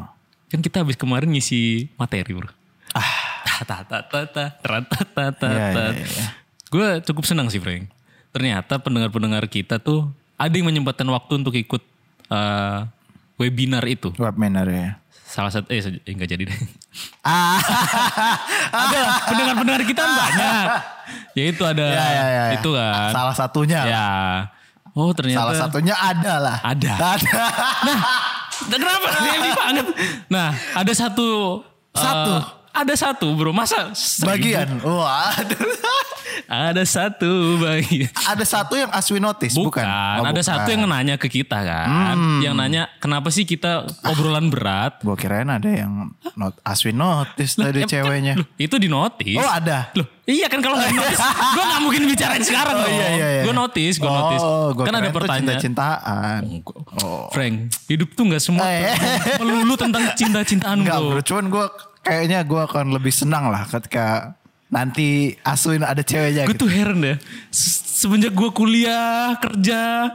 [SPEAKER 1] Kan kita habis kemarin ngisi materi bro. Ah. Ta ta ta ta ta ta ta ta
[SPEAKER 3] Iya,
[SPEAKER 1] ta.
[SPEAKER 3] iya, iya.
[SPEAKER 1] Gue cukup senang sih Frank. Ternyata pendengar-pendengar kita tuh ada yang menyempatkan waktu untuk ikut eh, webinar itu.
[SPEAKER 3] Webinar ya.
[SPEAKER 1] Salah satu eh se- eh, enggak jadi deh.
[SPEAKER 3] Ah,
[SPEAKER 1] ada lah, pendengar-pendengar kita kan banyak. Ya itu ada
[SPEAKER 3] ya, ya, ya, ya.
[SPEAKER 1] itu kan.
[SPEAKER 3] Salah satunya.
[SPEAKER 1] Ya. Oh ternyata
[SPEAKER 3] Salah satunya ada lah.
[SPEAKER 1] Ada.
[SPEAKER 3] Ada.
[SPEAKER 1] Nah, kenapa? Ngeli banget. Nah, ada satu.
[SPEAKER 3] Satu?
[SPEAKER 1] eh, ada satu bro. Masa? seribu?
[SPEAKER 3] Bagian. Wah, ada.
[SPEAKER 1] Ada satu bagian.
[SPEAKER 3] ada satu yang Aswi notice, bukan?
[SPEAKER 1] Bukan,
[SPEAKER 3] Oh,
[SPEAKER 1] ada
[SPEAKER 3] bukan. Hmm.
[SPEAKER 1] satu yang nanya ke kita kan. Yang nanya kenapa sih kita obrolan berat.
[SPEAKER 3] Gue kirain ada yang not, Aswi notice
[SPEAKER 1] Em, kan,
[SPEAKER 3] tadi ceweknya.
[SPEAKER 1] loh, itu di notice.
[SPEAKER 3] Oh, ada?
[SPEAKER 1] Loh, iya kan kalau nggak di notice. gue gak mungkin bicarain sekarang dong. Gue notice, gue
[SPEAKER 3] iya, oh,
[SPEAKER 1] notice.
[SPEAKER 3] gua
[SPEAKER 1] kan ada
[SPEAKER 3] kirain tuh
[SPEAKER 1] pertanyaan.
[SPEAKER 3] Cinta-cintaan.
[SPEAKER 1] Frank, hidup tuh gak semua
[SPEAKER 3] Oh. Eh.
[SPEAKER 1] melulu tentang cinta-cintaan
[SPEAKER 3] Enggak
[SPEAKER 1] bro.
[SPEAKER 3] bro, cuman gue kayaknya gue akan lebih senang lah ketika nanti Aswin ada ceweknya
[SPEAKER 1] gue
[SPEAKER 3] gitu.
[SPEAKER 1] tuh heran deh Se- semenjak gue kuliah kerja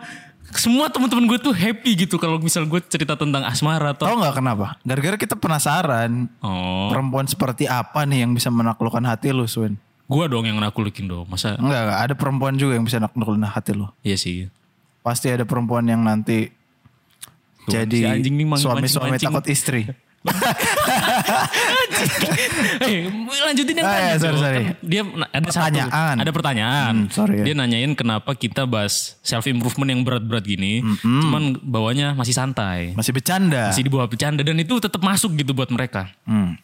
[SPEAKER 1] semua teman-teman gue tuh happy gitu kalau misal gue cerita tentang asmara atau
[SPEAKER 3] Tahu nggak kenapa? Gara-gara kita penasaran
[SPEAKER 1] oh
[SPEAKER 3] perempuan seperti apa nih yang bisa menaklukkan hati lu, Swin?
[SPEAKER 1] gue dong yang nakulukin dong masa
[SPEAKER 3] Enggak, enggak. Ada perempuan juga yang bisa menaklukkan hati lu.
[SPEAKER 1] iya sih
[SPEAKER 3] Pasti ada perempuan yang nanti
[SPEAKER 1] Tuh, si
[SPEAKER 3] jadi
[SPEAKER 1] anjing nih mancing-
[SPEAKER 3] suami-suami
[SPEAKER 1] mancing-
[SPEAKER 3] takut istri.
[SPEAKER 1] eh lanjutin yang
[SPEAKER 3] Ah,
[SPEAKER 1] tadi
[SPEAKER 3] iya,
[SPEAKER 1] dong.
[SPEAKER 3] sorry, sorry.
[SPEAKER 1] Kan dia na- ada
[SPEAKER 3] Pertanyaan.
[SPEAKER 1] satu ada pertanyaan
[SPEAKER 3] Hmm, sorry ya.
[SPEAKER 1] dia nanyain kenapa kita bahas self improvement yang berat-berat gini cuman bawanya masih santai
[SPEAKER 3] Masih bercanda.
[SPEAKER 1] masih di bawah bercanda dan itu tetap masuk gitu buat mereka
[SPEAKER 3] Hmm.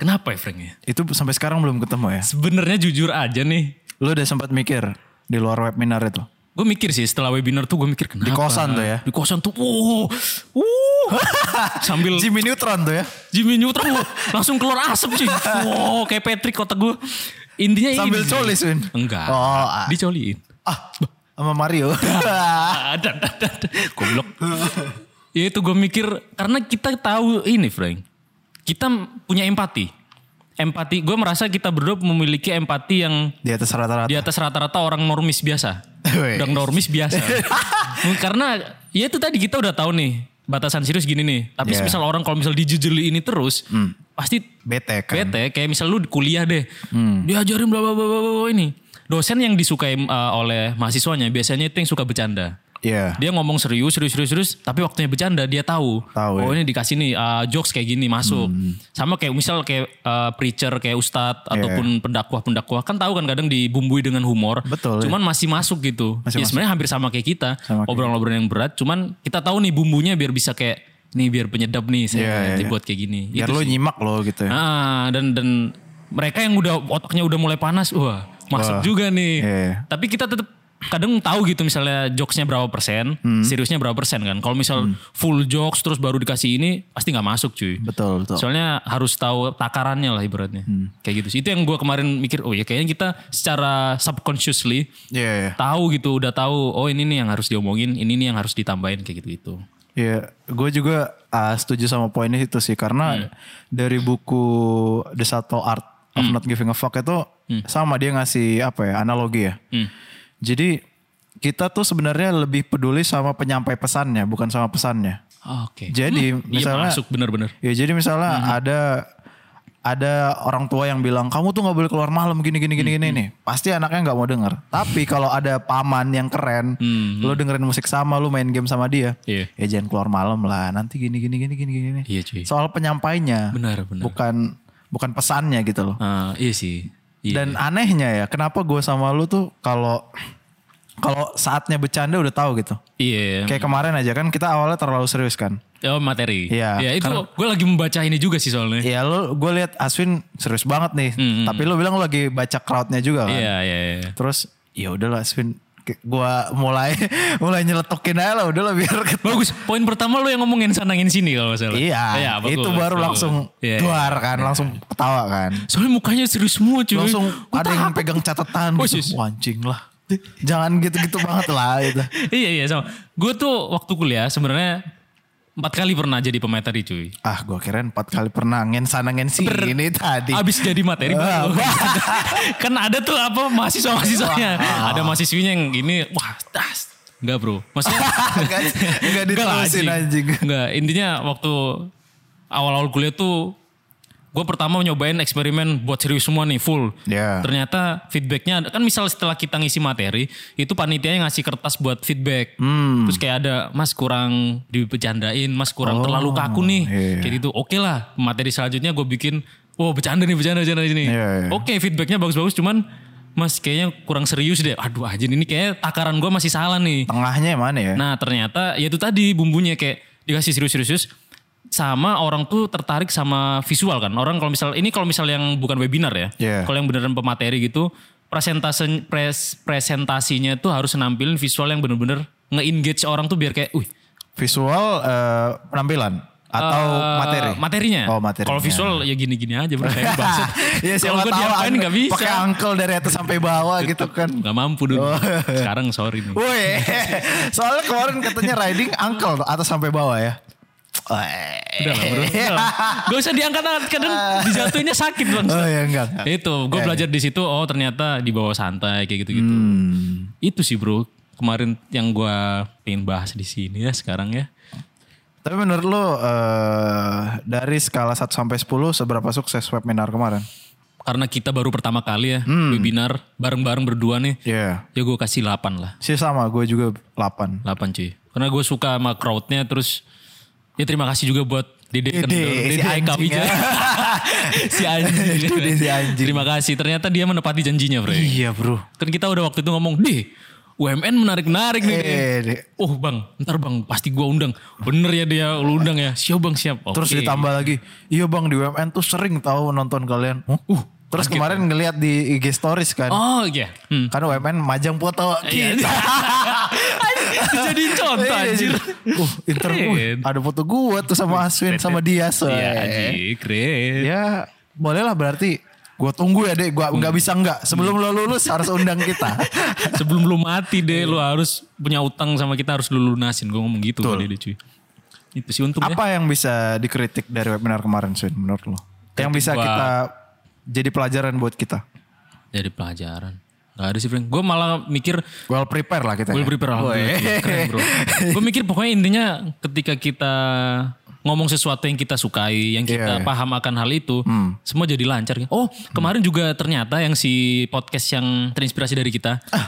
[SPEAKER 1] kenapa ya Frank ya
[SPEAKER 3] Itu sampai sekarang belum ketemu ya?
[SPEAKER 1] sebenarnya jujur aja nih
[SPEAKER 3] Lu udah sempat mikir di luar webinar itu?
[SPEAKER 1] Gue mikir sih setelah webinar tuh gue mikir kenapa.
[SPEAKER 3] Di kosan tuh ya?
[SPEAKER 1] Di kosan tuh. Wuh. wuh. Sambil
[SPEAKER 3] Jimmy Neutron tuh ya?
[SPEAKER 1] Jimmy Neutron wuh, langsung keluar asap sih. Wow kayak Patrick kotak gue. Intinya
[SPEAKER 3] Sambil
[SPEAKER 1] ini.
[SPEAKER 3] colis, Win.
[SPEAKER 1] Enggak.
[SPEAKER 3] Oh, ah.
[SPEAKER 1] Dicoliin. Ah,
[SPEAKER 3] Ah, sama Mario.
[SPEAKER 1] ada, ada, ada. Goblok. ya itu gue mikir, karena kita tahu ini Frank. Kita punya empati. Empati, gue merasa kita berdua memiliki empati yang
[SPEAKER 3] di atas rata-rata.
[SPEAKER 1] di atas rata-rata orang normis biasa.
[SPEAKER 3] Weh.
[SPEAKER 1] Orang normis biasa. Karena ya itu tadi kita udah tahu nih batasan serius gini nih. Tapi
[SPEAKER 3] Yeah.
[SPEAKER 1] misal orang kalau misal dijujuli ini terus pasti
[SPEAKER 3] Bete Hmm. kan. Hmm.
[SPEAKER 1] bete kayak misal lu kuliah deh. Diajarin bla bla bla bla bla ini. Dosen yang disukai uh, oleh mahasiswanya biasanya itu yang suka bercanda.
[SPEAKER 3] Iya.
[SPEAKER 1] Dia ngomong serius, serius, serius, serius, tapi waktunya bercanda dia tahu.
[SPEAKER 3] Tahu, Hmm.
[SPEAKER 1] oh
[SPEAKER 3] ya.
[SPEAKER 1] ini dikasih nih uh, jokes kayak gini masuk. Sama kayak misal kayak uh, preacher, kayak ustadz
[SPEAKER 3] Iya.
[SPEAKER 1] ataupun pendakwah-pendakwah kan tahu kan kadang dibumbui dengan humor.
[SPEAKER 3] Betul,
[SPEAKER 1] Cuman masih masuk gitu. ya
[SPEAKER 3] Masih masuk.
[SPEAKER 1] sebenarnya hampir sama kayak kita,
[SPEAKER 3] Sama kayak-
[SPEAKER 1] obrolan-obrolan yang berat. Cuman kita tahu nih bumbunya biar bisa kayak nih biar penyedap nih saya
[SPEAKER 3] Iya, iya,
[SPEAKER 1] nanti
[SPEAKER 3] iya.
[SPEAKER 1] buat kayak gini.
[SPEAKER 3] Biar
[SPEAKER 1] Itu
[SPEAKER 3] lu
[SPEAKER 1] sih.
[SPEAKER 3] nyimak lo gitu ya.
[SPEAKER 1] Ah, dan dan mereka yang udah otaknya udah mulai panas, wah masuk
[SPEAKER 3] Wah,
[SPEAKER 1] juga nih.
[SPEAKER 3] iya, iya.
[SPEAKER 1] Tapi kita tetap kadang tahu gitu misalnya jokesnya berapa persen,
[SPEAKER 3] Hmm.
[SPEAKER 1] seriusnya berapa persen kan. Kalau misal full jokes terus baru dikasih ini pasti nggak masuk cuy.
[SPEAKER 3] Betul, betul. Hmm.
[SPEAKER 1] Soalnya harus tahu takarannya lah ibaratnya. Kayak gitu sih. Itu yang gua kemarin mikir, oh ya kayaknya kita secara subconsciously
[SPEAKER 3] Iya, iya.
[SPEAKER 1] tahu gitu, udah tahu oh ini nih yang harus diomongin, ini nih yang harus ditambahin kayak gitu-gitu.
[SPEAKER 3] Iya, gue juga ah, setuju sama poinnya itu sih karena dari buku The Subtle Art of Not Giving a Fuck itu sama dia ngasih apa ya analogi ya. Jadi kita tuh sebenarnya lebih peduli sama penyampai pesannya bukan sama pesannya.
[SPEAKER 1] Oke.
[SPEAKER 3] Jadi
[SPEAKER 1] Iya
[SPEAKER 3] misalnya
[SPEAKER 1] masuk bener-bener.
[SPEAKER 3] Ya jadi misalnya
[SPEAKER 1] Mhm.
[SPEAKER 3] ada ada orang tua yang bilang kamu tuh nggak boleh keluar malam gini gini gini
[SPEAKER 1] Mhm.
[SPEAKER 3] gini nih. Pasti anaknya nggak mau denger. Tapi kalau ada paman yang keren, lu dengerin musik sama, lu main game sama dia.
[SPEAKER 1] Mhm. Iya.
[SPEAKER 3] Ya jangan keluar malam lah. Nanti gini gini gini gini gini.
[SPEAKER 1] Iya, cuy.
[SPEAKER 3] Soal penyampainya.
[SPEAKER 1] Benar, benar.
[SPEAKER 3] Bukan bukan pesannya gitu loh.
[SPEAKER 1] Ah, iya sih. Iya.
[SPEAKER 3] Dan anehnya ya, kenapa gue sama lu tuh kalau kalau saatnya bercanda udah tahu gitu.
[SPEAKER 1] Iya.
[SPEAKER 3] Kayak kemarin aja kan kita awalnya terlalu serius kan.
[SPEAKER 1] Oh materi.
[SPEAKER 3] Iya,
[SPEAKER 1] Ya, itu
[SPEAKER 3] karena-
[SPEAKER 1] gue lagi membaca ini juga sih soalnya.
[SPEAKER 3] Ya lo gue lihat Aswin serius banget nih. Tapi lo bilang lo lagi baca crowdnya juga kan.
[SPEAKER 1] Mm-hmm. Iya, iya, iya.
[SPEAKER 3] Terus ya udahlah Aswin. Ke- Gua mulai mulai nyeletokin aja lah udahlah biar ketemu.
[SPEAKER 1] Bagus. Poin pertama lu yang ngomongin sanangin sini kalau nggak salah.
[SPEAKER 3] Iya.
[SPEAKER 1] bagus,
[SPEAKER 3] itu baru
[SPEAKER 1] bagus.
[SPEAKER 3] langsung
[SPEAKER 1] Iya.
[SPEAKER 3] keluar kan. Langsung ketawa kan.
[SPEAKER 1] Soalnya mukanya serius semua cuy.
[SPEAKER 3] Langsung
[SPEAKER 1] Gua
[SPEAKER 3] ada yang
[SPEAKER 1] takut.
[SPEAKER 3] pegang catatan.
[SPEAKER 1] Oh,
[SPEAKER 3] gitu.
[SPEAKER 1] sis.
[SPEAKER 3] Wah, anjing lah. Jangan gitu-gitu banget lah gitu.
[SPEAKER 1] Iya, iya. Sama. Gue tuh waktu kuliah sebenarnya empat kali pernah jadi pemateri cuy.
[SPEAKER 3] Ah gua kira empat kali pernah ngen sana ngen sini ini tadi.
[SPEAKER 1] Abis jadi materi baru. kan ada tuh apa mahasiswa-mahasiswanya. Ada mahasiswinya yang gini, wah das. Enggak bro. Maksudnya
[SPEAKER 3] Enggak- enggak
[SPEAKER 1] Enggak lah,
[SPEAKER 3] diterusin anjing.
[SPEAKER 1] Enggak, intinya waktu awal-awal kuliah tuh gue pertama nyobain eksperimen buat serius semua nih full.
[SPEAKER 3] Ya.
[SPEAKER 1] Ternyata feedbacknya ada- kan misal setelah kita ngisi materi itu panitianya ngasih kertas buat feedback.
[SPEAKER 3] Hmm.
[SPEAKER 1] Terus kayak ada mas kurang dibecandain, mas kurang terlalu kaku nih.
[SPEAKER 3] iya.
[SPEAKER 1] Kayak gitu. Oke lah materi selanjutnya gue bikin, wow bercanda nih bercanda bercanda di sini.
[SPEAKER 3] Iya, iya.
[SPEAKER 1] Oke feedbacknya bagus-bagus cuman mas kayaknya kurang serius deh. Aduh anjing ini kayaknya takaran gue masih salah nih.
[SPEAKER 3] Tengahnya yang mana ya?
[SPEAKER 1] Nah ternyata ya itu tadi bumbunya kayak dikasih serius-serius sama orang tuh tertarik sama visual kan. Orang kalau misal ini kalau misal yang bukan webinar ya.
[SPEAKER 3] Iya.
[SPEAKER 1] Kalau yang beneran pemateri gitu presentasi pres- presentasinya tuh harus nampilin visual yang bener-bener nge-engage orang tuh biar kayak uh
[SPEAKER 3] Visual eh, penampilan atau
[SPEAKER 1] eh,
[SPEAKER 3] materi?
[SPEAKER 1] Materinya.
[SPEAKER 3] Oh materinya.
[SPEAKER 1] Kalau visual ya gini-gini aja bro. Kayak bahasa.
[SPEAKER 3] ya
[SPEAKER 1] Kalau
[SPEAKER 3] siapa
[SPEAKER 1] gua
[SPEAKER 3] tahu
[SPEAKER 1] diapain
[SPEAKER 3] ang-
[SPEAKER 1] nggak bisa.
[SPEAKER 3] Pakai angkel dari atas sampai bawah gitu kan.
[SPEAKER 1] Gak mampu dulu. Sekarang sorry nih.
[SPEAKER 3] Woi, soalnya kemarin katanya riding angkel tuh, atas sampai bawah ya. Weh.
[SPEAKER 1] Udah lah bro. Udah lah. Gak usah diangkat-angkat. Kadang dijatuhinnya sakit bang.
[SPEAKER 3] Oh ya Hmm. enggak. enggak.
[SPEAKER 1] itu gue belajar di situ oh ternyata di bawah santai kayak gitu gitu itu sih bro kemarin yang gue pengen bahas di sini ya sekarang ya
[SPEAKER 3] Tapi menurut lo eh, dari skala 1 sampai 10 seberapa sukses webinar kemarin?
[SPEAKER 1] karena kita baru pertama kali ya
[SPEAKER 3] Hmm.
[SPEAKER 1] webinar bareng-bareng berdua nih
[SPEAKER 3] Iya.
[SPEAKER 1] ya gue kasih 8 lah
[SPEAKER 3] Sih sama, gue juga 8.
[SPEAKER 1] 8 cuy karena gue suka sama crowdnya terus ya terima kasih juga buat Dede
[SPEAKER 3] Dede,
[SPEAKER 1] Kendor,
[SPEAKER 3] si
[SPEAKER 1] Eka
[SPEAKER 3] anjing ya.
[SPEAKER 1] Wijaya. si anjing.
[SPEAKER 3] Itu dia si anjing.
[SPEAKER 1] Terima kasih. Ternyata dia menepati janjinya, Bro.
[SPEAKER 3] Iya bro.
[SPEAKER 1] Kan kita udah waktu itu ngomong, "Deh, UMN menarik-narik nih." Deh."
[SPEAKER 3] Eh, di-
[SPEAKER 1] Oh bang, ntar bang pasti gua undang. Bener ya dia, lu undang ya. Siap bang, siap. Oke.
[SPEAKER 3] Terus ditambah lagi, iya bang di WMN tuh sering tahu nonton kalian. Huh? Terus kemarin ngeliat di IG stories
[SPEAKER 1] ya?
[SPEAKER 3] kan.
[SPEAKER 1] Oh iya. Hmm.
[SPEAKER 3] Kan WMN majang foto Gitu.
[SPEAKER 1] Iya.
[SPEAKER 3] kita.
[SPEAKER 1] Jadi contoh anjir.
[SPEAKER 3] Uh, interview.
[SPEAKER 1] Keren.
[SPEAKER 3] Ada foto gue tuh sama Aswin sama dia.
[SPEAKER 1] Iya
[SPEAKER 3] Iya,
[SPEAKER 1] anjir, keren.
[SPEAKER 3] ya bolehlah berarti Gua tunggu ya dek, gua
[SPEAKER 1] Hmm.
[SPEAKER 3] nggak bisa nggak. Sebelum lo lulus harus undang kita.
[SPEAKER 1] Sebelum lu mati deh, lu harus punya utang sama kita harus lu lunasin. Gue ngomong gitu kali dia cuy. Itu sih untung ya.
[SPEAKER 3] Apa yang bisa dikritik dari webinar kemarin, Swin, menurut lo? Yang bisa
[SPEAKER 1] gua-
[SPEAKER 3] kita jadi pelajaran buat kita.
[SPEAKER 1] Dari pelajaran. Gak ada sih Frank. Gue malah mikir
[SPEAKER 3] Well prepare lah kita.
[SPEAKER 1] Well
[SPEAKER 3] ya.
[SPEAKER 1] prepare alhamdulillah. Keren bro. Gue mikir pokoknya intinya ketika kita ngomong sesuatu yang kita sukai, yang kita
[SPEAKER 3] Iya, Hmm. iya.
[SPEAKER 1] paham akan hal itu, semua jadi lancar. Oh kemarin juga ternyata yang si podcast yang terinspirasi dari kita, eh,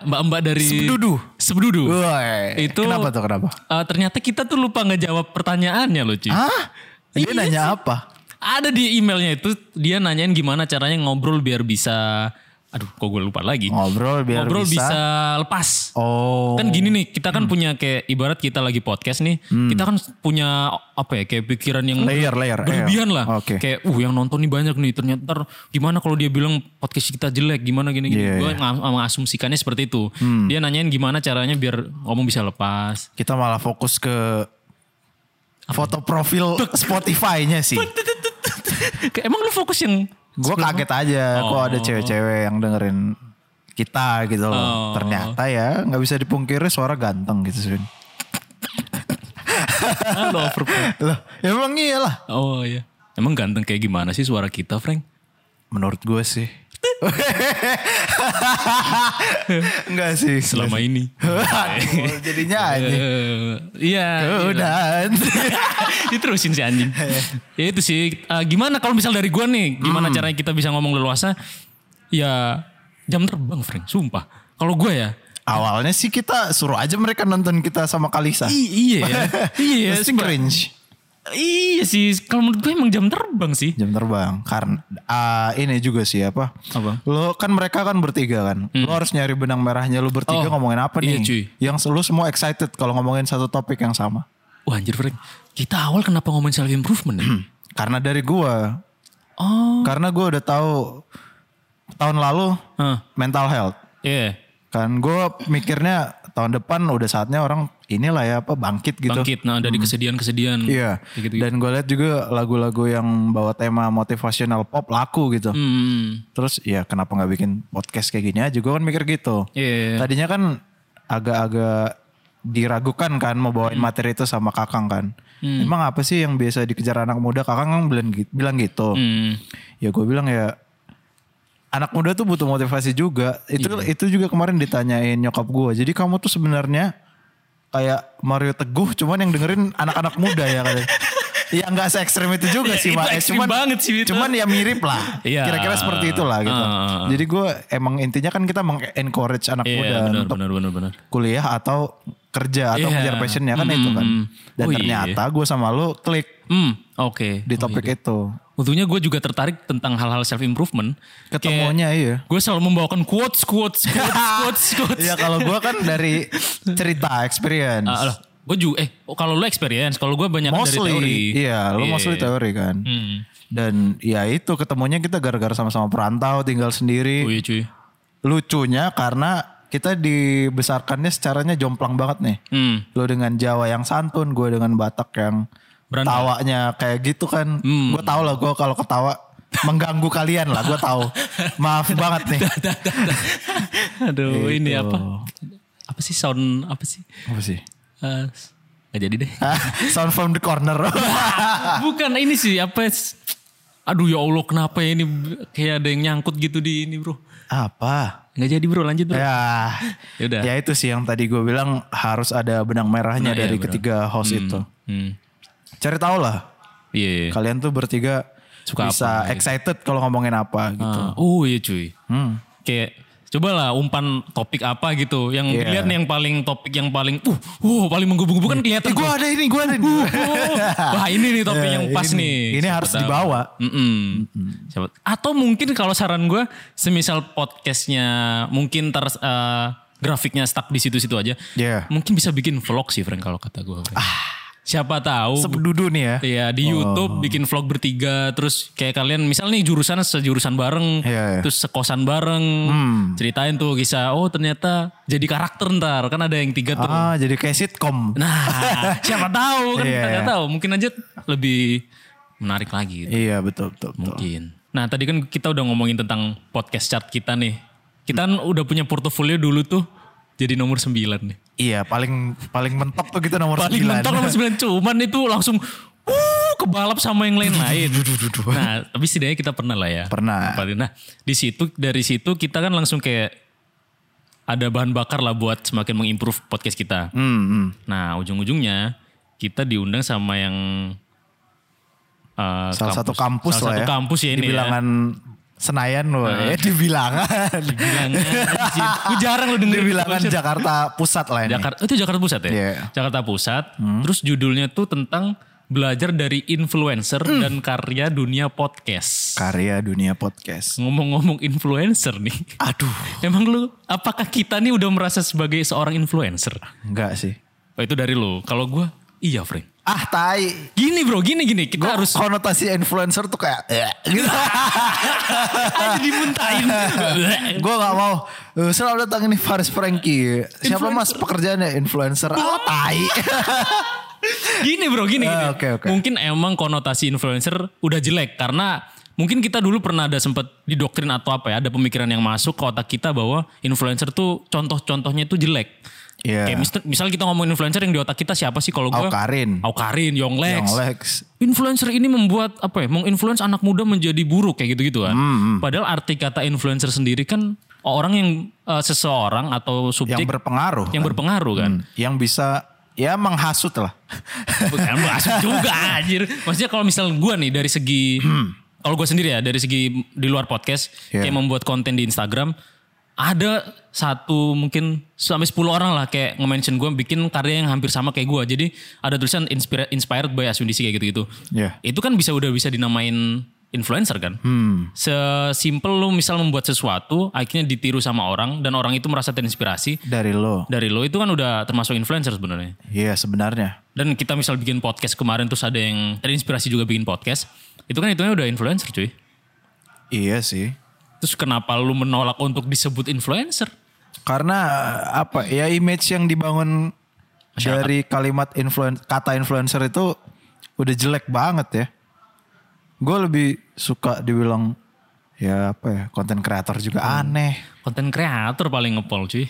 [SPEAKER 1] mbak-mbak dari
[SPEAKER 3] Ah. Sebedudu.
[SPEAKER 1] Sebedudu.
[SPEAKER 3] Woi,
[SPEAKER 1] Itu
[SPEAKER 3] kenapa tuh kenapa?
[SPEAKER 1] eh, ternyata kita tuh lupa ngejawab pertanyaannya loh Ci.
[SPEAKER 3] Hah? Dia
[SPEAKER 1] Iya
[SPEAKER 3] nanya
[SPEAKER 1] sih.
[SPEAKER 3] apa?
[SPEAKER 1] Ada di emailnya itu dia nanyain gimana caranya ngobrol biar bisa, aduh kok gue lupa lagi.
[SPEAKER 3] Ngobrol biar
[SPEAKER 1] ngobrol
[SPEAKER 3] bisa.
[SPEAKER 1] bisa lepas.
[SPEAKER 3] Oh,
[SPEAKER 1] Kan gini nih, kita kan punya kayak ibarat kita lagi podcast nih, kita kan punya apa ya kayak pikiran yang
[SPEAKER 3] Hmm. Layer, layer,
[SPEAKER 1] berlebihan
[SPEAKER 3] iya.
[SPEAKER 1] lah.
[SPEAKER 3] Oke.
[SPEAKER 1] Kayak uh yang nonton nih banyak nih, ternyata ntar gimana kalau dia bilang podcast kita jelek, gimana gini gini.
[SPEAKER 3] Iya, Hmm.
[SPEAKER 1] Gue nga- mengasumsikannya seperti itu. Dia nanyain gimana caranya biar ngomong bisa lepas.
[SPEAKER 3] kita malah fokus ke foto profil Spotify-nya sih.
[SPEAKER 1] Kayak, Emang lu fokus yang
[SPEAKER 3] Gue kaget aja, kok
[SPEAKER 1] Oh.
[SPEAKER 3] ada cewek-cewek yang dengerin kita
[SPEAKER 1] Oh.
[SPEAKER 3] gitu loh. Ternyata ya nggak bisa dipungkiri suara ganteng gitu Swin.
[SPEAKER 1] ah, lu over-
[SPEAKER 3] Loh, ya memang iyalah.
[SPEAKER 1] Oh iya. Emang ganteng kayak gimana sih suara kita, Frank?
[SPEAKER 3] Menurut gue sih. Enggak Iya sih.
[SPEAKER 1] Selama ini.
[SPEAKER 3] Aduh, Jadinya aja.
[SPEAKER 1] Eh, iya.
[SPEAKER 3] Udah.
[SPEAKER 1] Diterusin si anjing.
[SPEAKER 3] Iya.
[SPEAKER 1] ya itu sih. eh, gimana kalau misal dari gua nih. Gimana
[SPEAKER 3] Hmm.
[SPEAKER 1] caranya kita bisa ngomong leluasa. Ya jam terbang Frank. Sumpah. Kalau gue ya.
[SPEAKER 3] Awalnya sih kita suruh aja mereka nonton kita sama Kalisa.
[SPEAKER 1] i- iya ya. iya ya.
[SPEAKER 3] Pasti
[SPEAKER 1] sumpah.
[SPEAKER 3] cringe.
[SPEAKER 1] Iya sih. Kalau menurut gue emang jam terbang sih.
[SPEAKER 3] Jam terbang. Karena ah, ini juga sih apa.
[SPEAKER 1] Apa? Hmm.
[SPEAKER 3] Lo kan mereka kan bertiga kan. Lo harus nyari benang merahnya. Lo bertiga
[SPEAKER 1] Oh,
[SPEAKER 3] ngomongin apa
[SPEAKER 1] iya,
[SPEAKER 3] nih.
[SPEAKER 1] cuy.
[SPEAKER 3] Yang lo semua excited kalau ngomongin satu topik yang sama.
[SPEAKER 1] Wah anjir Frank. Kita awal kenapa ngomongin self improvement ya?
[SPEAKER 3] Karena dari gua.
[SPEAKER 1] oh.
[SPEAKER 3] Karena gua udah tahu tahun lalu
[SPEAKER 1] Hah.
[SPEAKER 3] mental health.
[SPEAKER 1] Iya.
[SPEAKER 3] Kan gua mikirnya tahun depan udah saatnya orang inilah ya apa bangkit gitu.
[SPEAKER 1] Bangkit. Nah dari kesedihan-kesedihan.
[SPEAKER 3] Iya.
[SPEAKER 1] Gitu-gitu.
[SPEAKER 3] Dan gue lihat juga lagu-lagu yang bawa tema motivational pop laku gitu.
[SPEAKER 1] Hmm.
[SPEAKER 3] Terus ya kenapa nggak bikin podcast kayak gini aja? Gue kan mikir gitu.
[SPEAKER 1] Iya.
[SPEAKER 3] Tadinya kan agak-agag diragukan kan mau bawain
[SPEAKER 1] Hmm.
[SPEAKER 3] materi itu sama Kakang kan. Emang apa sih yang biasa dikejar anak muda? Kakang kan bilang, gi- bilang gitu.
[SPEAKER 1] Hmm.
[SPEAKER 3] Ya gue bilang ya anak muda tuh butuh motivasi juga. Itu
[SPEAKER 1] Iya.
[SPEAKER 3] itu juga kemarin ditanyain nyokap gue. Jadi kamu tuh sebenarnya kayak Mario Teguh cuman yang dengerin anak-anak muda ya katanya. Ya nggak se ekstrim itu juga
[SPEAKER 1] Ya,
[SPEAKER 3] sih
[SPEAKER 1] itu
[SPEAKER 3] Pak. Ya,
[SPEAKER 1] ekstrim banget sih itu.
[SPEAKER 3] Cuman ya mirip lah.
[SPEAKER 1] Iya.
[SPEAKER 3] Kira-kira seperti itulah gitu.
[SPEAKER 1] Ah.
[SPEAKER 3] Jadi gue emang intinya kan kita meng-encourage anak
[SPEAKER 1] Iya
[SPEAKER 3] muda
[SPEAKER 1] benar
[SPEAKER 3] untuk
[SPEAKER 1] benar benar benar.
[SPEAKER 3] kuliah atau kerja atau
[SPEAKER 1] Iya.
[SPEAKER 3] ngejar passionnya kan itu kan.
[SPEAKER 1] Mm.
[SPEAKER 3] Dan
[SPEAKER 1] Oh, iya. iya.
[SPEAKER 3] ternyata gue sama lu klik
[SPEAKER 1] Hmm, oke.
[SPEAKER 3] di topik itu.
[SPEAKER 1] Untungnya gue juga tertarik tentang hal-hal self improvement.
[SPEAKER 3] Ketemunya iya.
[SPEAKER 1] Gue selalu membawakan quotes, quotes, quotes, quotes, quotes. Nah,
[SPEAKER 3] Iya kalau gue kan dari cerita experience.
[SPEAKER 1] gue juga. Eh, oh, kalau lu experience, kalau gue banyak Ah, dari
[SPEAKER 3] mostly
[SPEAKER 1] teori.
[SPEAKER 3] iya lo
[SPEAKER 1] Iya.
[SPEAKER 3] mostly teori kan.
[SPEAKER 1] Hmm.
[SPEAKER 3] Dan ya itu ketemunya kita gara-gara sama-sama perantau tinggal
[SPEAKER 1] Oh
[SPEAKER 3] sendiri.
[SPEAKER 1] iya cuy.
[SPEAKER 3] Lucunya karena kita dibesarkannya secaranya jomplang banget nih.
[SPEAKER 1] Hmm.
[SPEAKER 3] Lo dengan Jawa yang santun, gue dengan Batak yang
[SPEAKER 1] Berantai.
[SPEAKER 3] tawanya kayak gitu kan.
[SPEAKER 1] Hmm.
[SPEAKER 3] Gue tau lah gue kalau ketawa mengganggu kalian lah gue tahu. Maaf banget nih. Gitu.
[SPEAKER 1] Aduh, ini apa? Apa sih sound apa sih?
[SPEAKER 3] Apa sih?
[SPEAKER 1] Eh, nggak jadi deh.
[SPEAKER 3] Sound from the corner.
[SPEAKER 1] Bukan ini sih apa? Aduh ya Allah kenapa ya ini kayak ada yang nyangkut gitu di ini bro.
[SPEAKER 3] Apa?
[SPEAKER 1] Nggak jadi bro, lanjut bro.
[SPEAKER 3] Ya,
[SPEAKER 1] Yaudah.
[SPEAKER 3] ya itu sih yang tadi gue bilang harus ada benang merahnya
[SPEAKER 1] Nah, iya,
[SPEAKER 3] dari
[SPEAKER 1] benar.
[SPEAKER 3] ketiga host itu.
[SPEAKER 1] Hmm.
[SPEAKER 3] Cari tahu lah,
[SPEAKER 1] Iya. iya.
[SPEAKER 3] kalian tuh bertiga
[SPEAKER 1] Suka
[SPEAKER 3] bisa excited kalau ngomongin apa gitu. Hmm.
[SPEAKER 1] Ah, oh iya cuy. Kayak cobalah umpan topik apa gitu. Yang
[SPEAKER 3] Iya.
[SPEAKER 1] dilihat nih yang paling topik yang paling uh, uh paling menggebu-gebu kan kelihatan.
[SPEAKER 3] Eh, gue
[SPEAKER 1] tuh.
[SPEAKER 3] ada ini, gue ada ini.
[SPEAKER 1] Uh, Wah ini nih topik
[SPEAKER 3] Ya,
[SPEAKER 1] uh. yang pas
[SPEAKER 3] Iya, ini-
[SPEAKER 1] nih.
[SPEAKER 3] Ini
[SPEAKER 1] Siapa
[SPEAKER 3] harus
[SPEAKER 1] tahu.
[SPEAKER 3] dibawa.
[SPEAKER 1] Mm-mm. Siapa- Atau mungkin kalau saran gue, semisal podcastnya mungkin ter eh, grafiknya stuck di situ-situ aja.
[SPEAKER 3] Iya. Ah.
[SPEAKER 1] Mungkin bisa bikin vlog sih Frank kalau kata gue. Siapa tahu.
[SPEAKER 3] Sepedudu nih ya.
[SPEAKER 1] Iya di YouTube bikin vlog bertiga terus kayak kalian misal nih jurusan sejurusan bareng
[SPEAKER 3] Iya, iya. Hmm.
[SPEAKER 1] terus sekosan bareng ceritain tuh kisah oh ternyata jadi karakter ntar kan ada yang tiga tuh
[SPEAKER 3] Ah, jadi kayak sitcom.
[SPEAKER 1] nah siapa tahu kan
[SPEAKER 3] Iya,
[SPEAKER 1] kita nggak
[SPEAKER 3] iya.
[SPEAKER 1] tahu mungkin aja lebih menarik lagi gitu.
[SPEAKER 3] Iya betul betul. betul.
[SPEAKER 1] mungkin Nah tadi kan kita udah ngomongin tentang podcast chart kita nih. Kita kan udah punya portofolio dulu tuh jadi nomor 9 nih.
[SPEAKER 3] Iya paling paling mentok tuh kita nomor
[SPEAKER 1] Paling
[SPEAKER 3] sembilan.
[SPEAKER 1] mentok nomor 9 cuman itu langsung uh, kebalap sama yang lain-lain. nah tapi setidaknya kita pernah lah ya.
[SPEAKER 3] Pernah.
[SPEAKER 1] Nempatin. Nah di situ dari situ kita kan langsung kayak ada bahan bakar lah buat semakin mengimprove podcast kita.
[SPEAKER 3] Hmm, hmm.
[SPEAKER 1] Nah ujung-ujungnya kita diundang sama yang eh,
[SPEAKER 3] Salah satu kampus
[SPEAKER 1] salah
[SPEAKER 3] lah
[SPEAKER 1] satu
[SPEAKER 3] ya.
[SPEAKER 1] kampus ya Ah. ini
[SPEAKER 3] Di
[SPEAKER 1] ya.
[SPEAKER 3] bilangan Senayan loh, ya, di bilangan.
[SPEAKER 1] Bilangan, anjing. Gue jarang lo denger
[SPEAKER 3] Di bilangan
[SPEAKER 1] konser.
[SPEAKER 3] kan Jakarta Pusat lah ini.
[SPEAKER 1] Jakarta. Itu Jakarta Pusat ya?
[SPEAKER 3] Iya.
[SPEAKER 1] Jakarta Pusat. Terus judulnya tuh tentang belajar dari influencer dan karya dunia podcast.
[SPEAKER 3] Karya dunia podcast.
[SPEAKER 1] Ngomong-ngomong influencer nih.
[SPEAKER 3] Aduh,
[SPEAKER 1] Emang lu apakah kita nih udah merasa sebagai seorang influencer?
[SPEAKER 3] enggak sih.
[SPEAKER 1] Oh, itu dari lu. Kalau gua iya, Frank.
[SPEAKER 3] Ah, tai.
[SPEAKER 1] Gini bro, gini gini. Kita harus
[SPEAKER 3] konotasi influencer tuh kayak eh, gitu.
[SPEAKER 1] aja dimuntahin.
[SPEAKER 3] gue gak mau Eh, selamat datang ini Faris Franky siapa
[SPEAKER 1] Influencer. Oh.
[SPEAKER 3] mas pekerjaannya influencer ah tai
[SPEAKER 1] gini bro, gini. gini.
[SPEAKER 3] Ah, oke, oke.
[SPEAKER 1] Mungkin emang konotasi influencer udah jelek karena mungkin kita dulu pernah ada sempat didoktrin atau apa ya, ada pemikiran yang masuk ke otak kita bahwa influencer tuh contoh-contohnya tuh jelek.
[SPEAKER 3] Iya.
[SPEAKER 1] Kayak mister- misal kita ngomongin influencer yang di otak kita siapa sih kalau gue?
[SPEAKER 3] Awkarin.
[SPEAKER 1] Awkarin, Yonglex.
[SPEAKER 3] Yang Lex
[SPEAKER 1] Influencer ini membuat apa ya? Menginfluence anak muda menjadi buruk kayak gitu-gitu kan.
[SPEAKER 3] Hmm,
[SPEAKER 1] Padahal arti kata influencer sendiri kan orang yang eh, seseorang atau subjek
[SPEAKER 3] yang berpengaruh Hmm,
[SPEAKER 1] yang berpengaruh kan.
[SPEAKER 3] yang bisa ya menghasut lah
[SPEAKER 1] Bukan kan, masuk juga anjir. Maksudnya kalau misal gue nih dari segi kalau gue sendiri ya dari segi di luar podcast
[SPEAKER 3] Iya.
[SPEAKER 1] kayak membuat konten di Instagram ada satu mungkin sampai 10 orang lah kayak nge-mention gue bikin karya yang hampir sama kayak gue. Jadi ada tulisan inspira- inspired by Aswindisi kayak gitu-gitu.
[SPEAKER 3] Iya.
[SPEAKER 1] Itu kan bisa udah bisa dinamain influencer kan.
[SPEAKER 3] Hmm.
[SPEAKER 1] Sesimpel lu misal membuat sesuatu akhirnya ditiru sama orang dan orang itu merasa terinspirasi
[SPEAKER 3] dari lo
[SPEAKER 1] dari lo itu kan udah termasuk influencer sebenarnya.
[SPEAKER 3] iya sebenarnya
[SPEAKER 1] Dan kita misal bikin podcast kemarin terus ada yang terinspirasi juga bikin podcast. Itu kan hitungnya udah influencer cuy.
[SPEAKER 3] iya sih
[SPEAKER 1] Terus kenapa lu menolak untuk disebut influencer?
[SPEAKER 3] karena apa ya image yang dibangun dari kalimat influen kata influencer itu udah jelek banget ya gue lebih suka dibilang ya apa ya konten kreator juga aneh
[SPEAKER 1] Konten kreator paling ngepol cuy.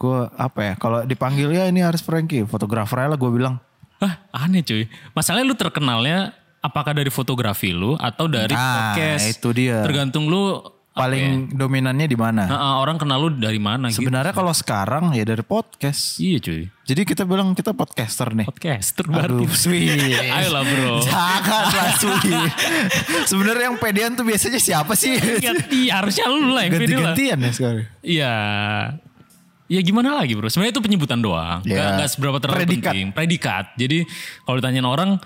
[SPEAKER 3] gue apa ya kalau dipanggil ya ini Haris Franky fotografer aja lah gue bilang
[SPEAKER 1] Hah aneh cuy. Masalahnya lu terkenalnya apakah dari fotografi lu atau dari
[SPEAKER 3] Nah,
[SPEAKER 1] podcast?
[SPEAKER 3] itu dia.
[SPEAKER 1] Tergantung lu
[SPEAKER 3] paling dominannya di mana
[SPEAKER 1] apa ya, eh, orang kenal lu dari mana gitu.
[SPEAKER 3] sebenarnya kalau sekarang ya dari podcast
[SPEAKER 1] Iya cuy.
[SPEAKER 3] jadi kita bilang kita podcaster nih
[SPEAKER 1] Podcaster
[SPEAKER 3] Aduh,
[SPEAKER 1] berarti.
[SPEAKER 3] sweet.
[SPEAKER 1] Ayo lah bro.
[SPEAKER 3] Jangan lah sweet. Sebenarnya yang pedean tuh biasanya siapa sih?
[SPEAKER 1] Ganti, harusnya lu lah yang video lah.
[SPEAKER 3] Ganti-gantian ya sekarang.
[SPEAKER 1] Iya. Ya gimana lagi bro? Sebenarnya itu penyebutan doang. Gak,
[SPEAKER 3] Ya.
[SPEAKER 1] gak seberapa terlalu
[SPEAKER 3] Predikat.
[SPEAKER 1] penting. Predikat. Jadi kalau ditanyain orang,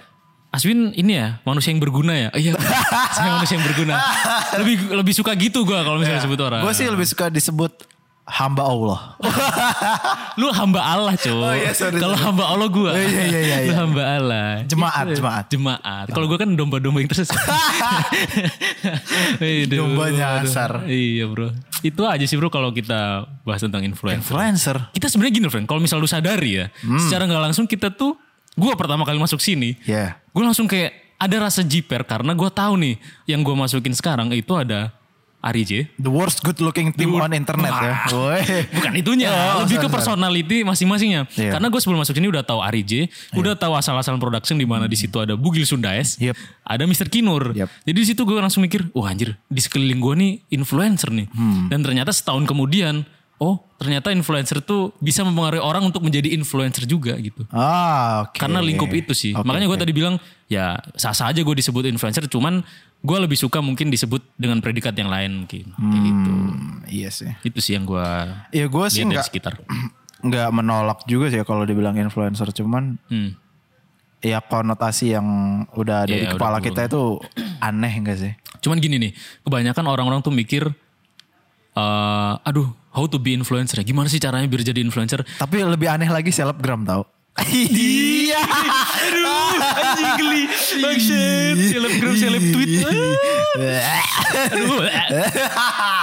[SPEAKER 1] Aswin ini ya manusia yang berguna ya? Iya. saya manusia yang berguna. Lebih lebih suka gitu gua kalau misalnya sebut orang.
[SPEAKER 3] Gue Iya. sih lebih suka disebut hamba Allah.
[SPEAKER 1] Oh. Lu hamba Allah cuy.
[SPEAKER 3] iya, sorry,
[SPEAKER 1] kalau
[SPEAKER 3] sorry.
[SPEAKER 1] hamba Allah gua.
[SPEAKER 3] Oh, iya, iya, iya,
[SPEAKER 1] Lu
[SPEAKER 3] iya.
[SPEAKER 1] hamba Allah.
[SPEAKER 3] Jemaat,
[SPEAKER 1] Gitu.
[SPEAKER 3] jemaat.
[SPEAKER 1] Jemaat. Kalau gua kan domba-domba yang tersesat. Aduh,
[SPEAKER 3] Domba
[SPEAKER 1] aduh.
[SPEAKER 3] nyasar.
[SPEAKER 1] Iya bro. Itu aja sih bro kalau kita bahas tentang influencer.
[SPEAKER 3] Influencer.
[SPEAKER 1] kita sebenarnya gini friend kalau misal lu sadari ya secara nggak langsung kita tuh gue pertama kali masuk sini
[SPEAKER 3] Ya.
[SPEAKER 1] gue langsung kayak ada rasa jiper karena gue tahu nih yang gue masukin sekarang itu ada Ari J
[SPEAKER 3] The worst good looking team on internet ya. Woi.
[SPEAKER 1] bukan itunya
[SPEAKER 3] Oh,
[SPEAKER 1] lebih
[SPEAKER 3] sorry,
[SPEAKER 1] ke
[SPEAKER 3] sorry.
[SPEAKER 1] personality masing-masingnya
[SPEAKER 3] Iya.
[SPEAKER 1] karena gue sebelum masuk sini udah tahu Ari J udah tahu asal-asalan production di mana di situ ada Bugil Sundaes
[SPEAKER 3] Yep.
[SPEAKER 1] ada Mr. Kinur
[SPEAKER 3] Yep.
[SPEAKER 1] jadi di situ gue langsung mikir wah anjir di sekeliling gue nih influencer nih
[SPEAKER 3] Hmm.
[SPEAKER 1] dan ternyata setahun kemudian oh ternyata influencer tuh bisa mempengaruhi orang untuk menjadi influencer juga gitu
[SPEAKER 3] Ah, oke.
[SPEAKER 1] karena lingkup itu sih.
[SPEAKER 3] Oke,
[SPEAKER 1] Makanya gue
[SPEAKER 3] oke.
[SPEAKER 1] tadi bilang ya sah-sah aja gue disebut influencer, cuman gue lebih suka mungkin disebut dengan predikat yang lain mungkin. Kayak gitu.
[SPEAKER 3] Hmm, iya sih.
[SPEAKER 1] Itu sih yang gue
[SPEAKER 3] Ya gue sih
[SPEAKER 1] lihat dari
[SPEAKER 3] nggak
[SPEAKER 1] sekitar.
[SPEAKER 3] nggak menolak juga sih ya kalau dibilang influencer cuman
[SPEAKER 1] Hmm.
[SPEAKER 3] ya konotasi yang udah ada di
[SPEAKER 1] Iya, udah
[SPEAKER 3] kepala kita itu aneh enggak sih?
[SPEAKER 1] Cuman gini nih, kebanyakan orang-orang tuh mikir, eh, aduh, how to be influencer? Gimana ya? sih caranya biar jadi influencer?
[SPEAKER 3] Tapi lebih aneh lagi selebgram tau. Iya.
[SPEAKER 1] Aduh, anjing geli. Bangsat, selebgram, seleb tweet. Aduh.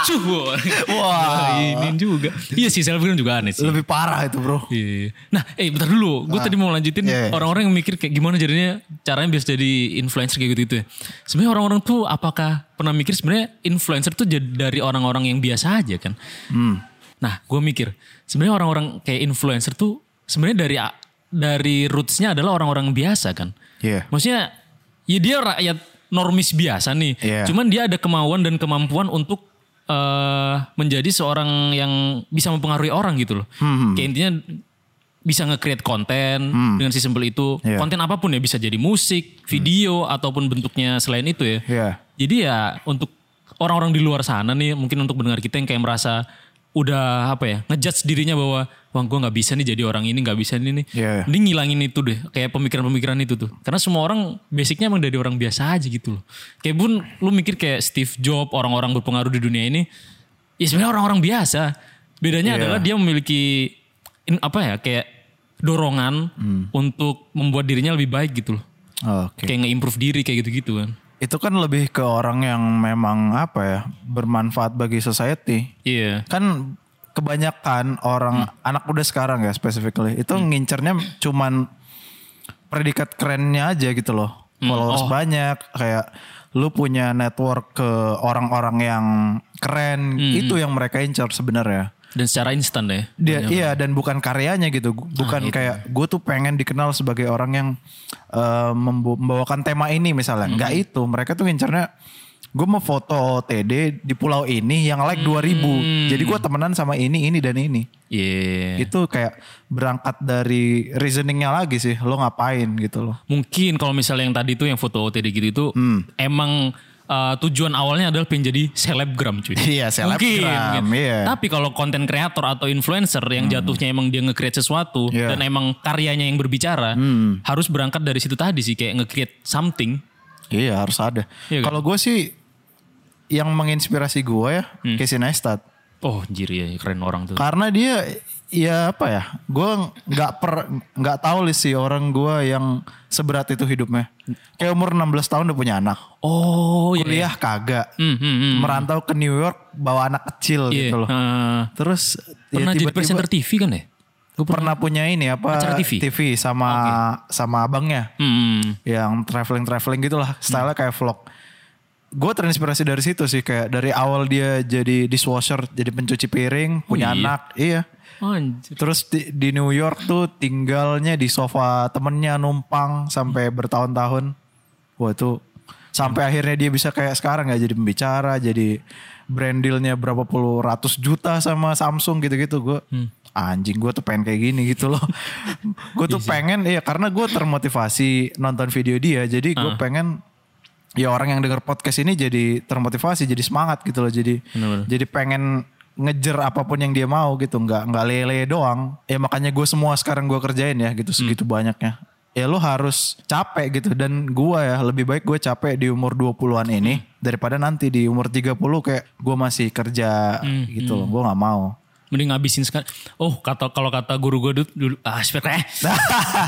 [SPEAKER 1] Cuh.
[SPEAKER 3] Wah.
[SPEAKER 1] Ini juga. Iya sih, selebgram juga aneh sih.
[SPEAKER 3] Lebih parah itu bro.
[SPEAKER 1] Iya. Nah, eh bentar dulu. Gue tadi mau lanjutin
[SPEAKER 3] Iya, iya.
[SPEAKER 1] orang-orang yang mikir kayak gimana jadinya caranya biar jadi influencer kayak gitu-gitu ya. Sebenarnya orang-orang tuh apakah pernah mikir sebenarnya influencer tuh jadi dari orang-orang yang biasa aja kan?
[SPEAKER 3] Hmm.
[SPEAKER 1] Nah, gue mikir sebenarnya orang-orang kayak influencer tuh sebenarnya dari dari rootsnya adalah orang-orang biasa kan?
[SPEAKER 3] Iya.
[SPEAKER 1] Maksudnya ya dia rakyat normis biasa nih.
[SPEAKER 3] Iya.
[SPEAKER 1] Cuman dia ada kemauan dan kemampuan untuk eh, menjadi seorang yang bisa mempengaruhi orang gitu loh.
[SPEAKER 3] Hmm,
[SPEAKER 1] Kayak intinya bisa nge-create konten dengan si simple itu.
[SPEAKER 3] Iya. Hmm.
[SPEAKER 1] Konten apapun ya bisa jadi musik, video ataupun bentuknya selain itu ya.
[SPEAKER 3] Iya.
[SPEAKER 1] Jadi ya untuk orang-orang di luar sana nih mungkin untuk mendengar kita yang kayak merasa udah apa ya ngejudge dirinya bahwa wah gue nggak bisa nih jadi orang ini nggak bisa ini nih
[SPEAKER 3] Iya, iya.
[SPEAKER 1] mending ngilangin itu deh kayak pemikiran-pemikiran itu tuh karena semua orang basicnya emang dari orang biasa aja gitu loh kayak pun lu mikir kayak Steve Jobs orang-orang berpengaruh di dunia ini ya sebenarnya orang-orang biasa
[SPEAKER 3] Iya.
[SPEAKER 1] bedanya adalah dia memiliki in- apa ya kayak dorongan untuk membuat dirinya lebih baik gitu loh
[SPEAKER 3] Hmm. Oke.
[SPEAKER 1] kayak nge-improve diri kayak gitu-gitu kan
[SPEAKER 3] Itu kan lebih ke orang yang memang apa ya bermanfaat bagi society.
[SPEAKER 1] iya
[SPEAKER 3] Kan kebanyakan orang anak muda sekarang ya specifically itu ngincernya cuman predikat kerennya aja gitu loh. Followers banyak kayak lu punya network ke orang-orang yang keren itu yang mereka incer sebenarnya.
[SPEAKER 1] dan secara instan deh
[SPEAKER 3] Dia iya dan bukan karyanya gitu, bukan kayak gue tuh pengen dikenal sebagai orang yang eh, membu- membawakan tema ini misalnya. Enggak itu, mereka tuh ngincernya gue mau foto TD di pulau ini yang like 2000. Jadi gue temenan sama ini, ini dan ini.
[SPEAKER 1] Iya.
[SPEAKER 3] Itu kayak berangkat dari reasoningnya lagi sih, lo ngapain gitu loh.
[SPEAKER 1] Mungkin kalau misalnya yang tadi itu yang foto OTD gitu itu
[SPEAKER 3] Hmm.
[SPEAKER 1] emang uh, tujuan awalnya adalah pengen jadi selebgram cuy.
[SPEAKER 3] Iya, selebgram, iya. Hmm.
[SPEAKER 1] Tapi kalau konten kreator atau influencer yang jatuhnya emang dia nge-create sesuatu
[SPEAKER 3] Iya. Hmm.
[SPEAKER 1] dan emang karyanya yang berbicara harus berangkat dari situ tadi sih kayak nge-create something.
[SPEAKER 3] Iya harus ada.
[SPEAKER 1] Iya kan?
[SPEAKER 3] Kalau gue sih yang menginspirasi gue ya, Casey Neistat.
[SPEAKER 1] Oh, anjir ya keren orang tuh.
[SPEAKER 3] karena dia ya apa ya gue nggak per nggak tahu li sih orang gue yang seberat itu hidupnya kayak umur 16 tahun udah punya anak
[SPEAKER 1] Oh, iya.
[SPEAKER 3] kuliah kagak
[SPEAKER 1] Hmm, hmm, hmm.
[SPEAKER 3] merantau ke New York bawa anak kecil
[SPEAKER 1] Iya,
[SPEAKER 3] gitu loh
[SPEAKER 1] eh,
[SPEAKER 3] terus ya
[SPEAKER 1] pernah jadi
[SPEAKER 3] tiba-tiba
[SPEAKER 1] presenter TV kan ya? Gue pernah.
[SPEAKER 3] pernah punya ini apa
[SPEAKER 1] Acara TV?
[SPEAKER 3] sama sama abangnya
[SPEAKER 1] Hmm.
[SPEAKER 3] yang traveling traveling gitulah stylenya kayak vlog gue terinspirasi dari situ sih kayak dari awal dia jadi dishwasher jadi pencuci piring punya
[SPEAKER 1] iya.
[SPEAKER 3] anak iya
[SPEAKER 1] Anjir.
[SPEAKER 3] Terus di, di New York tuh tinggalnya di sofa temennya numpang sampai bertahun-tahun. Wah tuh sampai akhirnya dia bisa kayak sekarang nggak jadi pembicara, jadi brand dealnya berapa puluh ratus juta sama Samsung gitu-gitu. Gue anjing gue tuh pengen kayak gini gitu loh. gue tuh pengen iya karena gue termotivasi nonton video dia, jadi gue pengen ya orang yang denger podcast ini jadi termotivasi, jadi semangat gitu loh, jadi
[SPEAKER 1] Bener-bener.
[SPEAKER 3] jadi pengen ngejer apapun yang dia mau gitu nggak nggak lele doang ya makanya gue semua sekarang gue kerjain ya gitu segitu banyaknya ya lo harus capek gitu dan gue ya lebih baik gue capek di umur 20-an ini daripada nanti di umur 30 kayak gue masih kerja gitu loh gue nggak mau
[SPEAKER 1] Mending ngabisin sekali. Oh, kata kalau kata guru gue dulu, ah spek eh.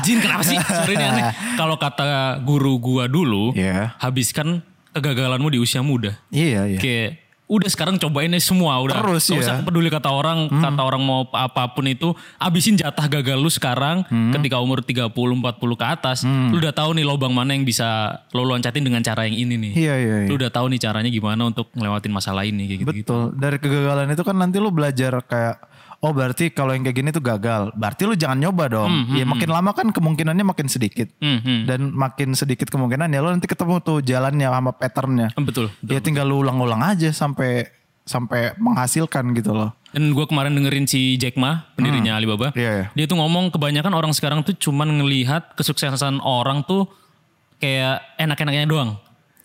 [SPEAKER 1] Jin kenapa sih? Sorry ini aneh. Kalau kata guru gua dulu,
[SPEAKER 3] Iya.
[SPEAKER 1] habiskan kegagalanmu di usia muda.
[SPEAKER 3] iya iya
[SPEAKER 1] Kayak udah sekarang cobain aja semua udah.
[SPEAKER 3] Terus,
[SPEAKER 1] Gak
[SPEAKER 3] Hmm. ya.
[SPEAKER 1] usah peduli kata orang, kata orang mau apapun itu, abisin jatah gagal lu sekarang
[SPEAKER 3] Hmm.
[SPEAKER 1] ketika umur 30 40 ke atas, lu udah tahu nih lobang mana yang bisa lo loncatin dengan cara yang ini nih.
[SPEAKER 3] Iya, iya, iya.
[SPEAKER 1] Lu udah tahu nih caranya gimana untuk ngelewatin masalah ini kayak gitu.
[SPEAKER 3] Betul. Dari kegagalan itu kan nanti lu belajar kayak oh berarti kalau yang kayak gini tuh gagal. Berarti lu jangan nyoba dong. ya makin lama kan kemungkinannya makin sedikit.
[SPEAKER 1] Hmm, hmm.
[SPEAKER 3] Dan makin sedikit kemungkinan ya lu nanti ketemu tuh jalannya sama patternnya.
[SPEAKER 1] Betul.
[SPEAKER 3] ya tinggal lu ulang-ulang aja sampai sampai menghasilkan gitu loh.
[SPEAKER 1] Dan gue kemarin dengerin si Jack Ma, pendirinya Alibaba.
[SPEAKER 3] Iya, iya.
[SPEAKER 1] Dia tuh ngomong kebanyakan orang sekarang tuh cuman ngelihat kesuksesan orang tuh kayak enak-enaknya doang.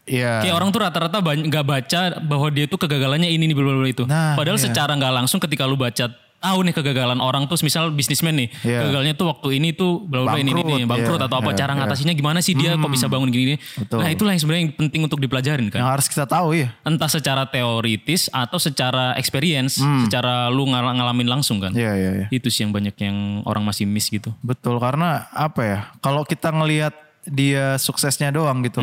[SPEAKER 1] Kayak
[SPEAKER 3] Iya.
[SPEAKER 1] orang tuh rata-rata ban- nggak baca bahwa dia tuh kegagalannya ini nih bla bla bla itu.
[SPEAKER 3] Nah,
[SPEAKER 1] Padahal
[SPEAKER 3] iya.
[SPEAKER 1] secara nggak langsung ketika lu baca tahu nih kegagalan orang tuh misal bisnismen nih
[SPEAKER 3] Iya.
[SPEAKER 1] kegagalnya tuh waktu ini tuh bla bla bla ini
[SPEAKER 3] Bangkrut,
[SPEAKER 1] nih bangkrut
[SPEAKER 3] iya,
[SPEAKER 1] atau apa
[SPEAKER 3] iya,
[SPEAKER 1] cara
[SPEAKER 3] iya. Hmm.
[SPEAKER 1] ngatasinya gimana sih dia kok bisa bangun gini nih
[SPEAKER 3] Betul.
[SPEAKER 1] nah itulah yang sebenarnya yang penting untuk dipelajarin kan
[SPEAKER 3] Yang harus kita tahu ya.
[SPEAKER 1] entah secara teoritis atau secara experience secara lu ngal- ngalamin langsung kan
[SPEAKER 3] Hmm. Iya, iya, iya.
[SPEAKER 1] itu sih yang banyak yang orang masih miss gitu
[SPEAKER 3] Betul karena apa ya? Kalau kita ngelihat dia suksesnya doang gitu.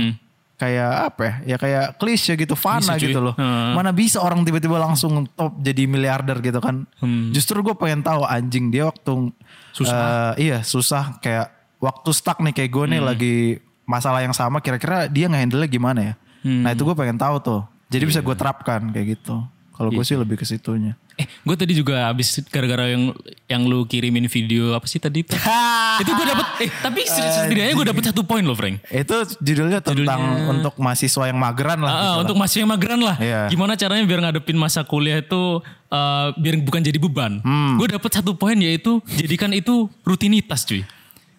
[SPEAKER 3] Kayak apa ya? Ya kayak klise gitu, fana
[SPEAKER 1] Klise, Hmm. cuy.
[SPEAKER 3] gitu loh.
[SPEAKER 1] Heeh.
[SPEAKER 3] Mana bisa orang tiba-tiba langsung top jadi miliarder gitu kan.
[SPEAKER 1] Hmm.
[SPEAKER 3] Justru gue pengen tahu anjing dia waktu susah. iya, susah kayak waktu stuck nih kayak gue nih
[SPEAKER 1] Hmm.
[SPEAKER 3] lagi masalah yang sama kira-kira dia ngehandle gimana ya?
[SPEAKER 1] Hmm.
[SPEAKER 3] Nah, itu gue pengen tahu tuh. Jadi bisa
[SPEAKER 1] Iya.
[SPEAKER 3] gue terapkan kayak gitu. Kalau gue sih lebih ke situnya.
[SPEAKER 1] Eh, gue tadi juga abis gara-gara yang yang lu kirimin video apa sih tadi? itu gue dapet. Eh, tapi seri- setidaknya gue dapet satu poin loh, Frank.
[SPEAKER 3] Itu judulnya tentang untuk mahasiswa yang mageran lah.
[SPEAKER 1] Ah,
[SPEAKER 3] gitu
[SPEAKER 1] ah, untuk masih yang mageran lah.
[SPEAKER 3] Iya.
[SPEAKER 1] Gimana caranya biar ngadepin masa kuliah itu eh, biar bukan jadi beban.
[SPEAKER 3] Hmm.
[SPEAKER 1] Gue dapet satu poin yaitu jadikan itu rutinitas, cuy.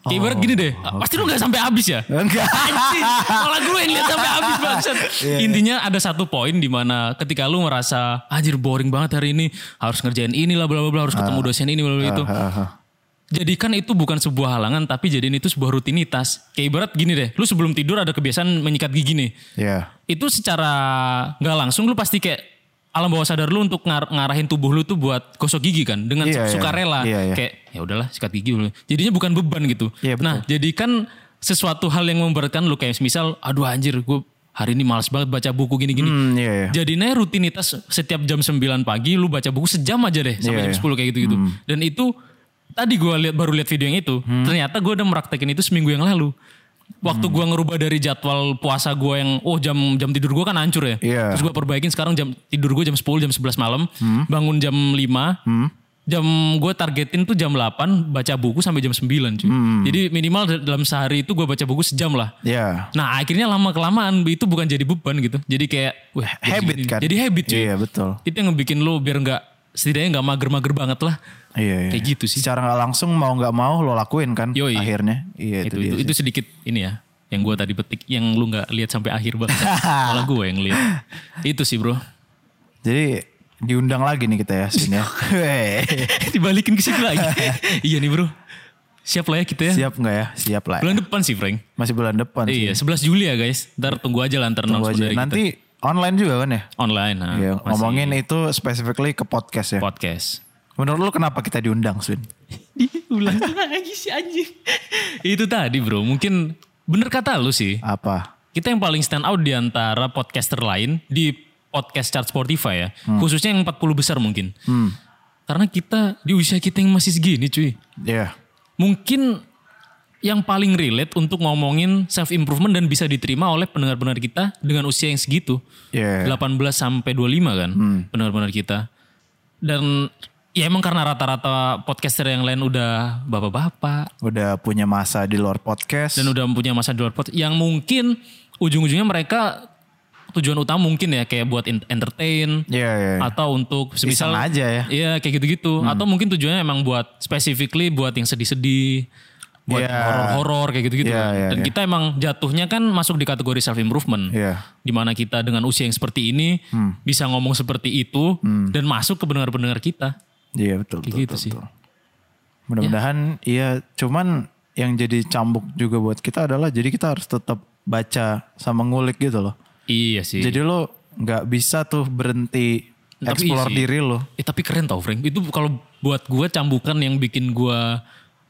[SPEAKER 3] Oh.
[SPEAKER 1] Kayak ibarat gini deh, pasti lu gak sampai habis ya?
[SPEAKER 3] Enggak.
[SPEAKER 1] Anjing, malah gue yang lihat sampai habis bangsat. Intinya ada satu poin di mana ketika lu merasa anjir boring banget hari ini, harus ngerjain inilah bla bla bla, harus ketemu dosen ini bla bla itu.
[SPEAKER 3] ah.
[SPEAKER 1] Jadikan itu bukan sebuah halangan tapi jadiin itu sebuah rutinitas. Kayak ibarat gini deh, lu sebelum tidur ada kebiasaan menyikat gigi nih.
[SPEAKER 3] Ya.
[SPEAKER 1] Itu secara nggak langsung lu pasti kayak alam bawah sadar lu untuk ngar- ngarahin tubuh lu tuh buat gosok gigi kan dengan
[SPEAKER 3] Iya, iya.
[SPEAKER 1] sukarela
[SPEAKER 3] Iya, iya.
[SPEAKER 1] kayak ya udahlah sikat gigi dulu. Jadinya bukan beban gitu.
[SPEAKER 3] Iya, betul.
[SPEAKER 1] nah, jadikan sesuatu hal yang memberatkan lu kayak misal aduh anjir gue hari ini males banget baca buku gini-gini.
[SPEAKER 3] Hmm, iya, iya.
[SPEAKER 1] Jadinya rutinitas setiap jam 9 pagi lu baca buku sejam aja deh sampai jam
[SPEAKER 3] Iya, iya.
[SPEAKER 1] 10 kayak gitu-gitu. Dan itu tadi gua lihat baru lihat video yang itu,
[SPEAKER 3] Hmm.
[SPEAKER 1] ternyata gua udah meraktekin itu seminggu yang lalu. Waktu gua ngerubah dari jadwal puasa gua yang oh jam jam tidur gua kan hancur ya.
[SPEAKER 3] Iya.
[SPEAKER 1] Terus gua perbaikin sekarang jam tidur gua jam 10 jam 11 malam,
[SPEAKER 3] Hmm.
[SPEAKER 1] bangun jam 5. Jam gue targetin tuh jam 8 baca buku sampai jam 9 cuy.
[SPEAKER 3] Hmm.
[SPEAKER 1] Jadi minimal da- dalam sehari itu gua baca buku sejam lah.
[SPEAKER 3] Ya.
[SPEAKER 1] Nah akhirnya lama kelamaan itu bukan jadi beban gitu. Jadi kayak wah gua
[SPEAKER 3] Habit
[SPEAKER 1] segini.
[SPEAKER 3] kan.
[SPEAKER 1] Jadi habit cuy.
[SPEAKER 3] Iya, betul.
[SPEAKER 1] Itu yang ngebikin lo biar nggak setidaknya nggak mager-mager banget lah.
[SPEAKER 3] Iya, iya.
[SPEAKER 1] Kayak gitu sih.
[SPEAKER 3] Secara nggak langsung mau nggak mau lo lakuin kan
[SPEAKER 1] Yoi.
[SPEAKER 3] akhirnya. Iya itu,
[SPEAKER 1] Itu,
[SPEAKER 3] dia.
[SPEAKER 1] itu, itu sedikit ini ya yang gue tadi petik yang lu nggak lihat sampai akhir banget. Malah gue yang lihat. Itu sih bro.
[SPEAKER 3] Jadi diundang lagi nih kita ya sini ya. Weh.
[SPEAKER 1] Iya. Dibalikin ke situ lagi. iya nih bro. Siap lah ya kita ya.
[SPEAKER 3] Siap nggak ya? Siap lah.
[SPEAKER 1] Bulan depan sih Frank.
[SPEAKER 3] Masih bulan depan sih.
[SPEAKER 1] Iya 11 Juli ya guys. Ntar tunggu aja lah ntar announcement
[SPEAKER 3] Tunggu aja.
[SPEAKER 1] dari kita.
[SPEAKER 3] Nanti online juga kan ya?
[SPEAKER 1] online. Nah,
[SPEAKER 3] Iya,
[SPEAKER 1] masih
[SPEAKER 3] ngomongin itu specifically ke podcast ya.
[SPEAKER 1] podcast.
[SPEAKER 3] Menurut lu kenapa kita diundang, Swin?
[SPEAKER 1] Diulang lagi si anjing. Itu tadi bro, mungkin bener kata lu sih.
[SPEAKER 3] Apa?
[SPEAKER 1] Kita yang paling stand out di antara podcaster lain di podcast chart Spotify ya. Khususnya yang 40 besar mungkin. Karena kita di usia kita yang masih segini cuy.
[SPEAKER 3] Iya.
[SPEAKER 1] Mungkin yang paling relate untuk ngomongin self improvement dan bisa diterima oleh pendengar-pendengar kita dengan usia yang segitu.
[SPEAKER 3] Iya.
[SPEAKER 1] 18 sampai 25 kan pendengar-pendengar kita. Dan ya emang karena rata-rata podcaster yang lain udah bapak-bapak
[SPEAKER 3] Udah punya masa di luar podcast.
[SPEAKER 1] dan udah punya masa di luar podcast yang mungkin ujung-ujungnya mereka tujuan utama mungkin ya kayak buat en- entertain
[SPEAKER 3] Iya, iya.
[SPEAKER 1] atau untuk
[SPEAKER 3] Iseng
[SPEAKER 1] semisal
[SPEAKER 3] aja ya. Hmm.
[SPEAKER 1] Iya kayak gitu-gitu atau mungkin tujuannya emang buat specifically buat yang sedih-sedih buat
[SPEAKER 3] Iya.
[SPEAKER 1] horor-horor kayak gitu-gitu
[SPEAKER 3] Iya,
[SPEAKER 1] kan.
[SPEAKER 3] iya,
[SPEAKER 1] dan
[SPEAKER 3] iya.
[SPEAKER 1] kita emang jatuhnya kan masuk di kategori self improvement
[SPEAKER 3] Iya. Hmm.
[SPEAKER 1] dimana kita dengan usia yang seperti ini bisa ngomong seperti itu dan masuk ke pendengar-pendengar kita
[SPEAKER 3] Iya, betul.
[SPEAKER 1] kayak
[SPEAKER 3] betul,
[SPEAKER 1] gitu
[SPEAKER 3] Hmm. betul,
[SPEAKER 1] sih
[SPEAKER 3] betul. Mudah-mudahan iya cuman yang jadi cambuk juga buat kita adalah jadi kita harus tetap baca sama ngulik gitu loh.
[SPEAKER 1] iya sih
[SPEAKER 3] Jadi lo nggak bisa tuh berhenti
[SPEAKER 1] Tapi
[SPEAKER 3] explore
[SPEAKER 1] isi.
[SPEAKER 3] diri lo.
[SPEAKER 1] Eh tapi keren tau Frank. Itu kalau buat gue cambukan yang bikin gue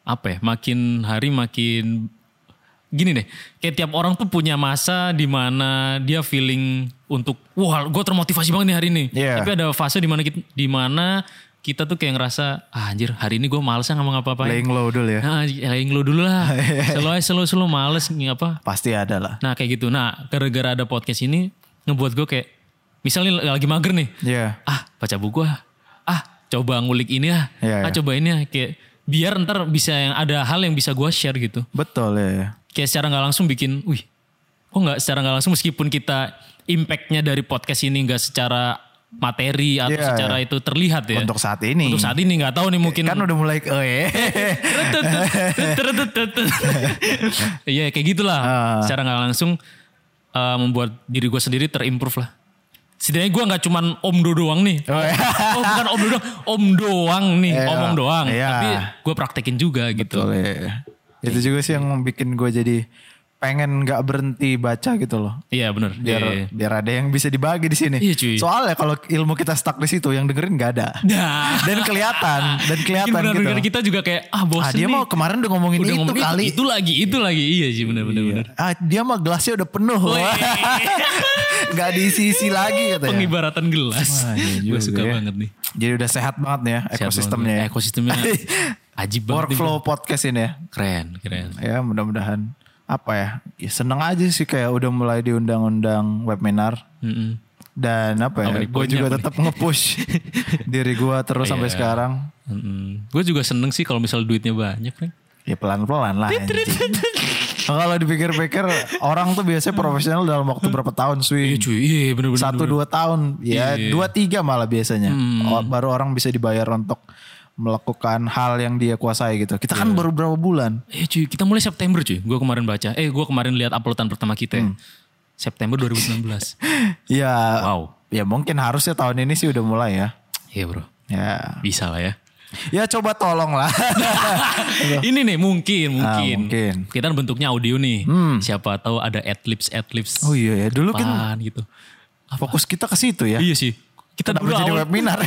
[SPEAKER 1] apa ya makin hari makin gini deh. Kayak tiap orang tuh punya masa di mana dia feeling untuk wah gue termotivasi banget nih hari ini.
[SPEAKER 3] Iya.
[SPEAKER 1] Tapi ada fase di mana kita, di mana kita tuh kayak ngerasa ah, anjir hari ini gue males ya nggak mau ngapa-ngapain.
[SPEAKER 3] Laying low dulu ya. Iya.
[SPEAKER 1] Nah, laying lo dulu lah. Selalu aja, selalu selalu males nggak apa
[SPEAKER 3] Pasti ada lah.
[SPEAKER 1] Nah kayak gitu. Nah gara-gara ada podcast ini ngebuat gue kayak misalnya lagi mager nih.
[SPEAKER 3] Iya.
[SPEAKER 1] Ah baca buku ah. Ah coba ngulik ini ah.
[SPEAKER 3] Iya,
[SPEAKER 1] ah
[SPEAKER 3] iya.
[SPEAKER 1] coba ini ah. Kayak biar ntar bisa yang ada hal yang bisa gue share gitu.
[SPEAKER 3] Betul ya. ya.
[SPEAKER 1] Kayak secara nggak langsung bikin. Wih kok nggak secara nggak langsung meskipun kita impactnya dari podcast ini nggak secara materi atau
[SPEAKER 3] Iya,
[SPEAKER 1] secara itu terlihat ya.
[SPEAKER 3] Untuk saat ini.
[SPEAKER 1] Untuk saat ini nggak tahu nih mungkin.
[SPEAKER 3] kan udah mulai oh ya. Ah.
[SPEAKER 1] Iya kayak gitulah. Secara nggak langsung eh, membuat diri gue sendiri terimprove lah. setidaknya gue nggak cuman Om Do doang nih. Oh, bukan Om Do doang, Om doang nih,
[SPEAKER 3] Iya.
[SPEAKER 1] omong doang.
[SPEAKER 3] Iya.
[SPEAKER 1] Tapi gue praktekin juga gitu.
[SPEAKER 3] Betul, iya. Itu juga sih yang bikin gue jadi pengen nggak berhenti baca gitu loh.
[SPEAKER 1] Iya bener.
[SPEAKER 3] Biar
[SPEAKER 1] Iya, iya.
[SPEAKER 3] biar ada yang bisa dibagi di sini.
[SPEAKER 1] Iya, cuy.
[SPEAKER 3] Soalnya kalau ilmu kita stuck di situ, yang dengerin nggak ada.
[SPEAKER 1] Nah.
[SPEAKER 3] Dan kelihatan, dan
[SPEAKER 1] Mungkin
[SPEAKER 3] kelihatan gitu.
[SPEAKER 1] benar-benar kita juga kayak ah bosen
[SPEAKER 3] Ah, dia
[SPEAKER 1] nih.
[SPEAKER 3] mau kemarin udah ngomongin
[SPEAKER 1] udah
[SPEAKER 3] itu
[SPEAKER 1] ngomongin
[SPEAKER 3] kali.
[SPEAKER 1] Itu lagi, itu lagi. Iya sih benar-benar. benar.
[SPEAKER 3] Ah, dia mah gelasnya udah penuh. Gak diisi-isi lagi katanya.
[SPEAKER 1] Pengibaratan gelas.
[SPEAKER 3] Wah, iya
[SPEAKER 1] gue
[SPEAKER 3] juga
[SPEAKER 1] suka
[SPEAKER 3] ya.
[SPEAKER 1] banget nih.
[SPEAKER 3] Jadi udah sehat banget nih ya
[SPEAKER 1] Sehat
[SPEAKER 3] ekosistemnya.
[SPEAKER 1] banget.
[SPEAKER 3] ya.
[SPEAKER 1] Ekosistemnya ajib banget.
[SPEAKER 3] Workflow podcast ini ya.
[SPEAKER 1] Keren, keren.
[SPEAKER 3] Ya mudah-mudahan apa ya? ya seneng aja sih kayak udah mulai diundang-undang webinar
[SPEAKER 1] Mm-mm.
[SPEAKER 3] dan apa ya?
[SPEAKER 1] Apa nih,
[SPEAKER 3] Gue
[SPEAKER 1] poinnya Iya. apa
[SPEAKER 3] juga
[SPEAKER 1] nih?
[SPEAKER 3] tetap nge-push diri gue terus sampai sekarang.
[SPEAKER 1] Gue juga seneng sih kalau misal duitnya banyak, Frank.
[SPEAKER 3] Ya pelan-pelan lah. anjing. Kalau dipikir-pikir orang tuh biasanya profesional dalam waktu berapa tahun
[SPEAKER 1] Iya
[SPEAKER 3] swing?
[SPEAKER 1] cuy, iya bener-bener.
[SPEAKER 3] satu dua tahun ya
[SPEAKER 1] Iya. Hmm.
[SPEAKER 3] dua tiga malah biasanya O- baru orang bisa dibayar untuk melakukan hal yang dia kuasai gitu kita
[SPEAKER 1] Iya.
[SPEAKER 3] kan baru berapa bulan
[SPEAKER 1] Eh cuy, kita mulai September cuy. Gue kemarin baca. Eh gue kemarin lihat uploadan pertama kita. ya.
[SPEAKER 3] Hmm.
[SPEAKER 1] September 2019.
[SPEAKER 3] ya
[SPEAKER 1] wow.
[SPEAKER 3] ya mungkin harusnya tahun ini sih udah mulai ya
[SPEAKER 1] Iya bro.
[SPEAKER 3] ya
[SPEAKER 1] Bisa lah ya.
[SPEAKER 3] ya coba tolong lah
[SPEAKER 1] Ini nih mungkin, mungkin.
[SPEAKER 3] Iya. Ah, mungkin. Hmm.
[SPEAKER 1] Kita kan bentuknya audio nih. Siapa tahu ada adlibs, adlibs.
[SPEAKER 3] oh iya ya dulu kan
[SPEAKER 1] apaan gitu.
[SPEAKER 3] fokus kita ke situ ya
[SPEAKER 1] Iya sih. Kita
[SPEAKER 3] Kenapa
[SPEAKER 1] dulu
[SPEAKER 3] jadi
[SPEAKER 1] awal.
[SPEAKER 3] webinar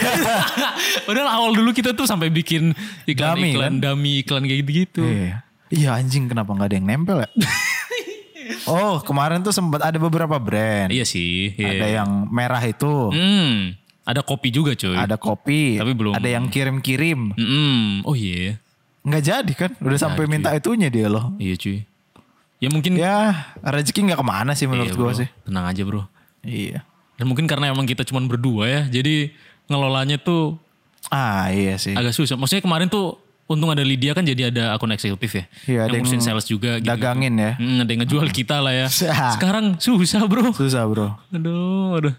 [SPEAKER 1] Padahal awal dulu kita tuh sampai bikin
[SPEAKER 3] Dummy, kan?
[SPEAKER 1] iklan-iklan, dummy, iklan kayak gitu-gitu.
[SPEAKER 3] Iya. Iya anjing kenapa nggak ada yang nempel ya oh kemarin tuh sempat ada beberapa brand
[SPEAKER 1] Iya sih. iya.
[SPEAKER 3] ada yang merah itu
[SPEAKER 1] Hmm, ada kopi juga cuy.
[SPEAKER 3] ada kopi
[SPEAKER 1] Tapi belum-
[SPEAKER 3] ada yang kirim-kirim
[SPEAKER 1] Mm-mm. Oh iya.
[SPEAKER 3] nggak jadi kan udah sampai minta itunya dia loh
[SPEAKER 1] Iya cuy. Ya mungkin
[SPEAKER 3] ya rezeki nggak kemana sih menurut
[SPEAKER 1] Iya,
[SPEAKER 3] gua
[SPEAKER 1] bro.
[SPEAKER 3] sih
[SPEAKER 1] Tenang aja bro.
[SPEAKER 3] iya
[SPEAKER 1] Dan mungkin karena emang kita cuman berdua ya. Jadi ngelolanya tuh
[SPEAKER 3] ah iya sih
[SPEAKER 1] agak susah. Maksudnya kemarin tuh untung ada Lydia kan jadi ada akun eksekutif ya.
[SPEAKER 3] Iya, ada
[SPEAKER 1] yang ngurusin
[SPEAKER 3] yang
[SPEAKER 1] sales juga gitu.
[SPEAKER 3] dagangin ya
[SPEAKER 1] Hmm, ada yang ngejual kita lah ya.
[SPEAKER 3] Susah.
[SPEAKER 1] Sekarang susah bro.
[SPEAKER 3] susah bro
[SPEAKER 1] Aduh, aduh.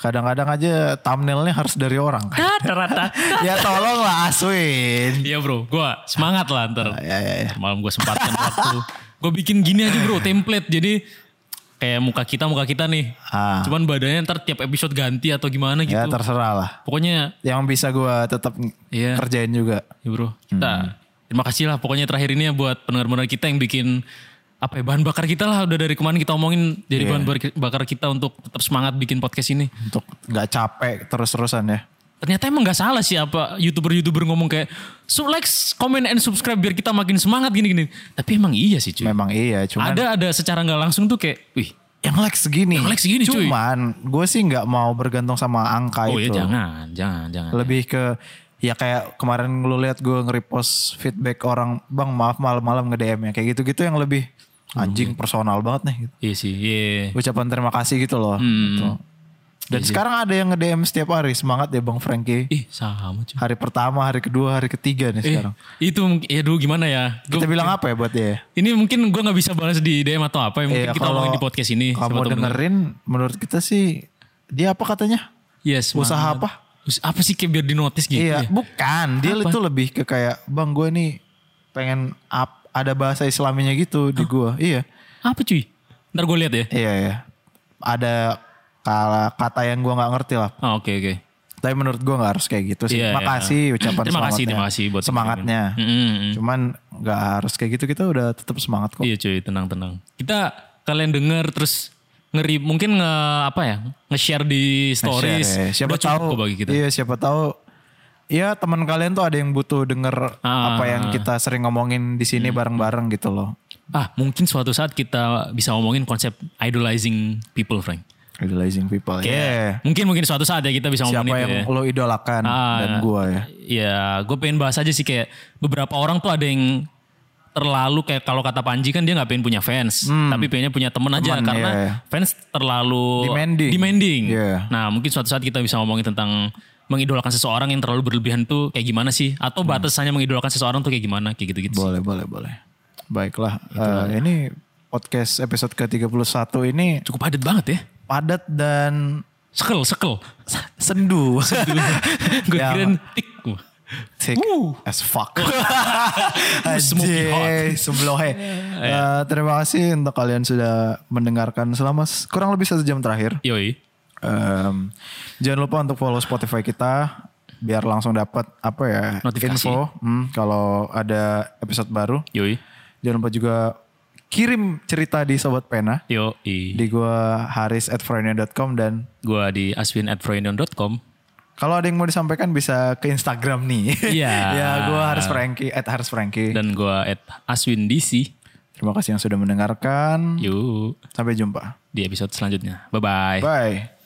[SPEAKER 3] kadang-kadang aja thumbnailnya harus dari orang kan.
[SPEAKER 1] Rata-rata.
[SPEAKER 3] ya tolong lah asuin
[SPEAKER 1] Iya bro, gua semangat lah ntar.
[SPEAKER 3] ya ya ya.
[SPEAKER 1] Ntar Malam gue sempatkan waktu. Gue bikin gini aja bro, template. Jadi kayak muka kita, muka kita nih.
[SPEAKER 3] Ah.
[SPEAKER 1] Cuman badannya ntar tiap episode ganti atau gimana gitu.
[SPEAKER 3] ya terserah lah
[SPEAKER 1] Pokoknya
[SPEAKER 3] yang bisa gua tetap
[SPEAKER 1] Iya.
[SPEAKER 3] kerjain juga
[SPEAKER 1] Ya bro, kita terima kasih lah pokoknya terakhir ini ya buat pendengar-pendengar kita yang bikin apa ya, bahan bakar kita lah udah dari kemarin kita omongin jadi bahan bar- bakar kita untuk tetap semangat bikin podcast ini.
[SPEAKER 3] untuk nggak capek terus-terusan ya
[SPEAKER 1] Ternyata emang nggak salah sih apa youtuber-youtuber ngomong kayak so like, comment and subscribe biar kita makin semangat gini-gini. Tapi emang iya sih cuy.
[SPEAKER 3] memang iya cuman
[SPEAKER 1] Ada ada secara nggak langsung tuh kayak, wih,
[SPEAKER 3] yang like segini
[SPEAKER 1] Yang like segini, cuy.
[SPEAKER 3] cuman gue sih nggak mau bergantung sama angka
[SPEAKER 1] oh
[SPEAKER 3] itu
[SPEAKER 1] ya jangan, jangan, jangan.
[SPEAKER 3] lebih ke ya kayak kemarin lu lihat gue nge-repost feedback orang bang maaf malam-malam nge-DM ya kayak gitu-gitu yang lebih anjing personal banget nih gitu.
[SPEAKER 1] Iya sih, iya. Hmm.
[SPEAKER 3] ucapan terima kasih gitu loh gitu. dan sekarang ada yang nge-DM setiap hari semangat ya bang Frankie
[SPEAKER 1] Ih sama cuy.
[SPEAKER 3] hari pertama hari kedua hari ketiga
[SPEAKER 1] Iya.
[SPEAKER 3] nih
[SPEAKER 1] Eh,
[SPEAKER 3] sekarang
[SPEAKER 1] itu mungkin- ya dulu gimana ya? Gua-
[SPEAKER 3] kita bilang apa ya buat dia
[SPEAKER 1] Ini mungkin gue nggak bisa balas di DM atau apa ya. Mungkin
[SPEAKER 3] Iya,
[SPEAKER 1] kita
[SPEAKER 3] kalau
[SPEAKER 1] omongin di podcast ini. ya. Siapa tahu
[SPEAKER 3] kamu dengerin menurut kita sih dia apa katanya
[SPEAKER 1] bener. Yes,
[SPEAKER 3] usaha
[SPEAKER 1] mantap.
[SPEAKER 3] apa
[SPEAKER 1] Us- Apa sih kayak biar di notice gitu ya?
[SPEAKER 3] Iya, bukan. Dia itu lebih ke kayak bang gue nih pengen up, ada bahasa Islaminya gitu di gue. Iya,
[SPEAKER 1] Apa cuy? Ntar gue lihat ya.
[SPEAKER 3] iya, iya. Ada kala- kata yang gue nggak ngerti lah.
[SPEAKER 1] Ah, Oke oke.
[SPEAKER 3] Tapi menurut gue nggak harus kayak gitu sih.
[SPEAKER 1] Iya, iya.
[SPEAKER 3] makasih ucapan
[SPEAKER 1] Terima kasih,
[SPEAKER 3] selamatnya.
[SPEAKER 1] terima kasih buat
[SPEAKER 3] semangatnya.
[SPEAKER 1] Mm-mm, mm.
[SPEAKER 3] Cuman nggak harus kayak gitu kita udah tetap semangat kok.
[SPEAKER 1] Iya cuy, tenang tenang. Kita kalian denger terus ngeri mungkin nge apa ya nge-share di stories
[SPEAKER 3] Share, ya. siapa
[SPEAKER 1] Udah cukup
[SPEAKER 3] tahu
[SPEAKER 1] kok bagi kita
[SPEAKER 3] iya siapa tahu ya teman kalian tuh ada yang butuh denger
[SPEAKER 1] Ah. Hmm.
[SPEAKER 3] apa yang kita sering ngomongin di sini bareng-bareng gitu loh
[SPEAKER 1] ah mungkin suatu saat kita bisa ngomongin konsep idolizing people Frank
[SPEAKER 3] idolizing people Yeah.
[SPEAKER 1] mungkin mungkin suatu saat ya kita bisa
[SPEAKER 3] Ya. siapa
[SPEAKER 1] ngomongin itu
[SPEAKER 3] yang
[SPEAKER 1] ya.
[SPEAKER 3] lo idolakan
[SPEAKER 1] Ah,
[SPEAKER 3] dan gua ya.
[SPEAKER 1] Ya, gue pengen bahas aja sih kayak beberapa orang tuh ada yang terlalu kayak kalau kata Panji kan dia nggak pengen punya fans, tapi pengennya punya temen aja
[SPEAKER 3] Hmm. Temen,
[SPEAKER 1] karena
[SPEAKER 3] iya, iya.
[SPEAKER 1] fans terlalu
[SPEAKER 3] Demanding. Iya.
[SPEAKER 1] Nah, mungkin suatu saat kita bisa ngomongin tentang mengidolakan seseorang yang terlalu berlebihan tuh kayak gimana sih? Atau batasannya mengidolakan seseorang tuh kayak gimana? Kayak gitu-gitu sih.
[SPEAKER 3] Hmm. Boleh, boleh, boleh. Baiklah,
[SPEAKER 1] Gitu
[SPEAKER 3] eh, ini podcast episode ke-31 ini
[SPEAKER 1] Cukup padat banget ya.
[SPEAKER 3] padat dan
[SPEAKER 1] Sekel, sekel.
[SPEAKER 3] sendu.
[SPEAKER 1] gue
[SPEAKER 3] Yang-
[SPEAKER 1] kirain tik.
[SPEAKER 3] Sick as fuck.
[SPEAKER 1] Smoky
[SPEAKER 3] Anjay, seblohe. Eh, terima kasih untuk kalian sudah mendengarkan selama s- kurang lebih satu jam terakhir.
[SPEAKER 1] Yoi.
[SPEAKER 3] Em, jangan lupa untuk follow Spotify kita biar langsung dapat apa ya
[SPEAKER 1] Notifikasi.
[SPEAKER 3] info hmm, kalau ada episode baru.
[SPEAKER 1] Yoi.
[SPEAKER 3] Jangan lupa juga kirim cerita di sobat pena
[SPEAKER 1] Yoi.
[SPEAKER 3] di gua haris at dan
[SPEAKER 1] Gua di aswin@froyendon.com.
[SPEAKER 3] kalau ada yang mau disampaikan bisa ke Instagram nih.
[SPEAKER 1] Iya.
[SPEAKER 3] ya gua haris Franky at haris Franky.
[SPEAKER 1] dan gua at Aswin DC.
[SPEAKER 3] Terima kasih yang sudah mendengarkan.
[SPEAKER 1] Yuk
[SPEAKER 3] Sampai jumpa.
[SPEAKER 1] di episode selanjutnya. Iya. Bye bye.
[SPEAKER 3] Bye.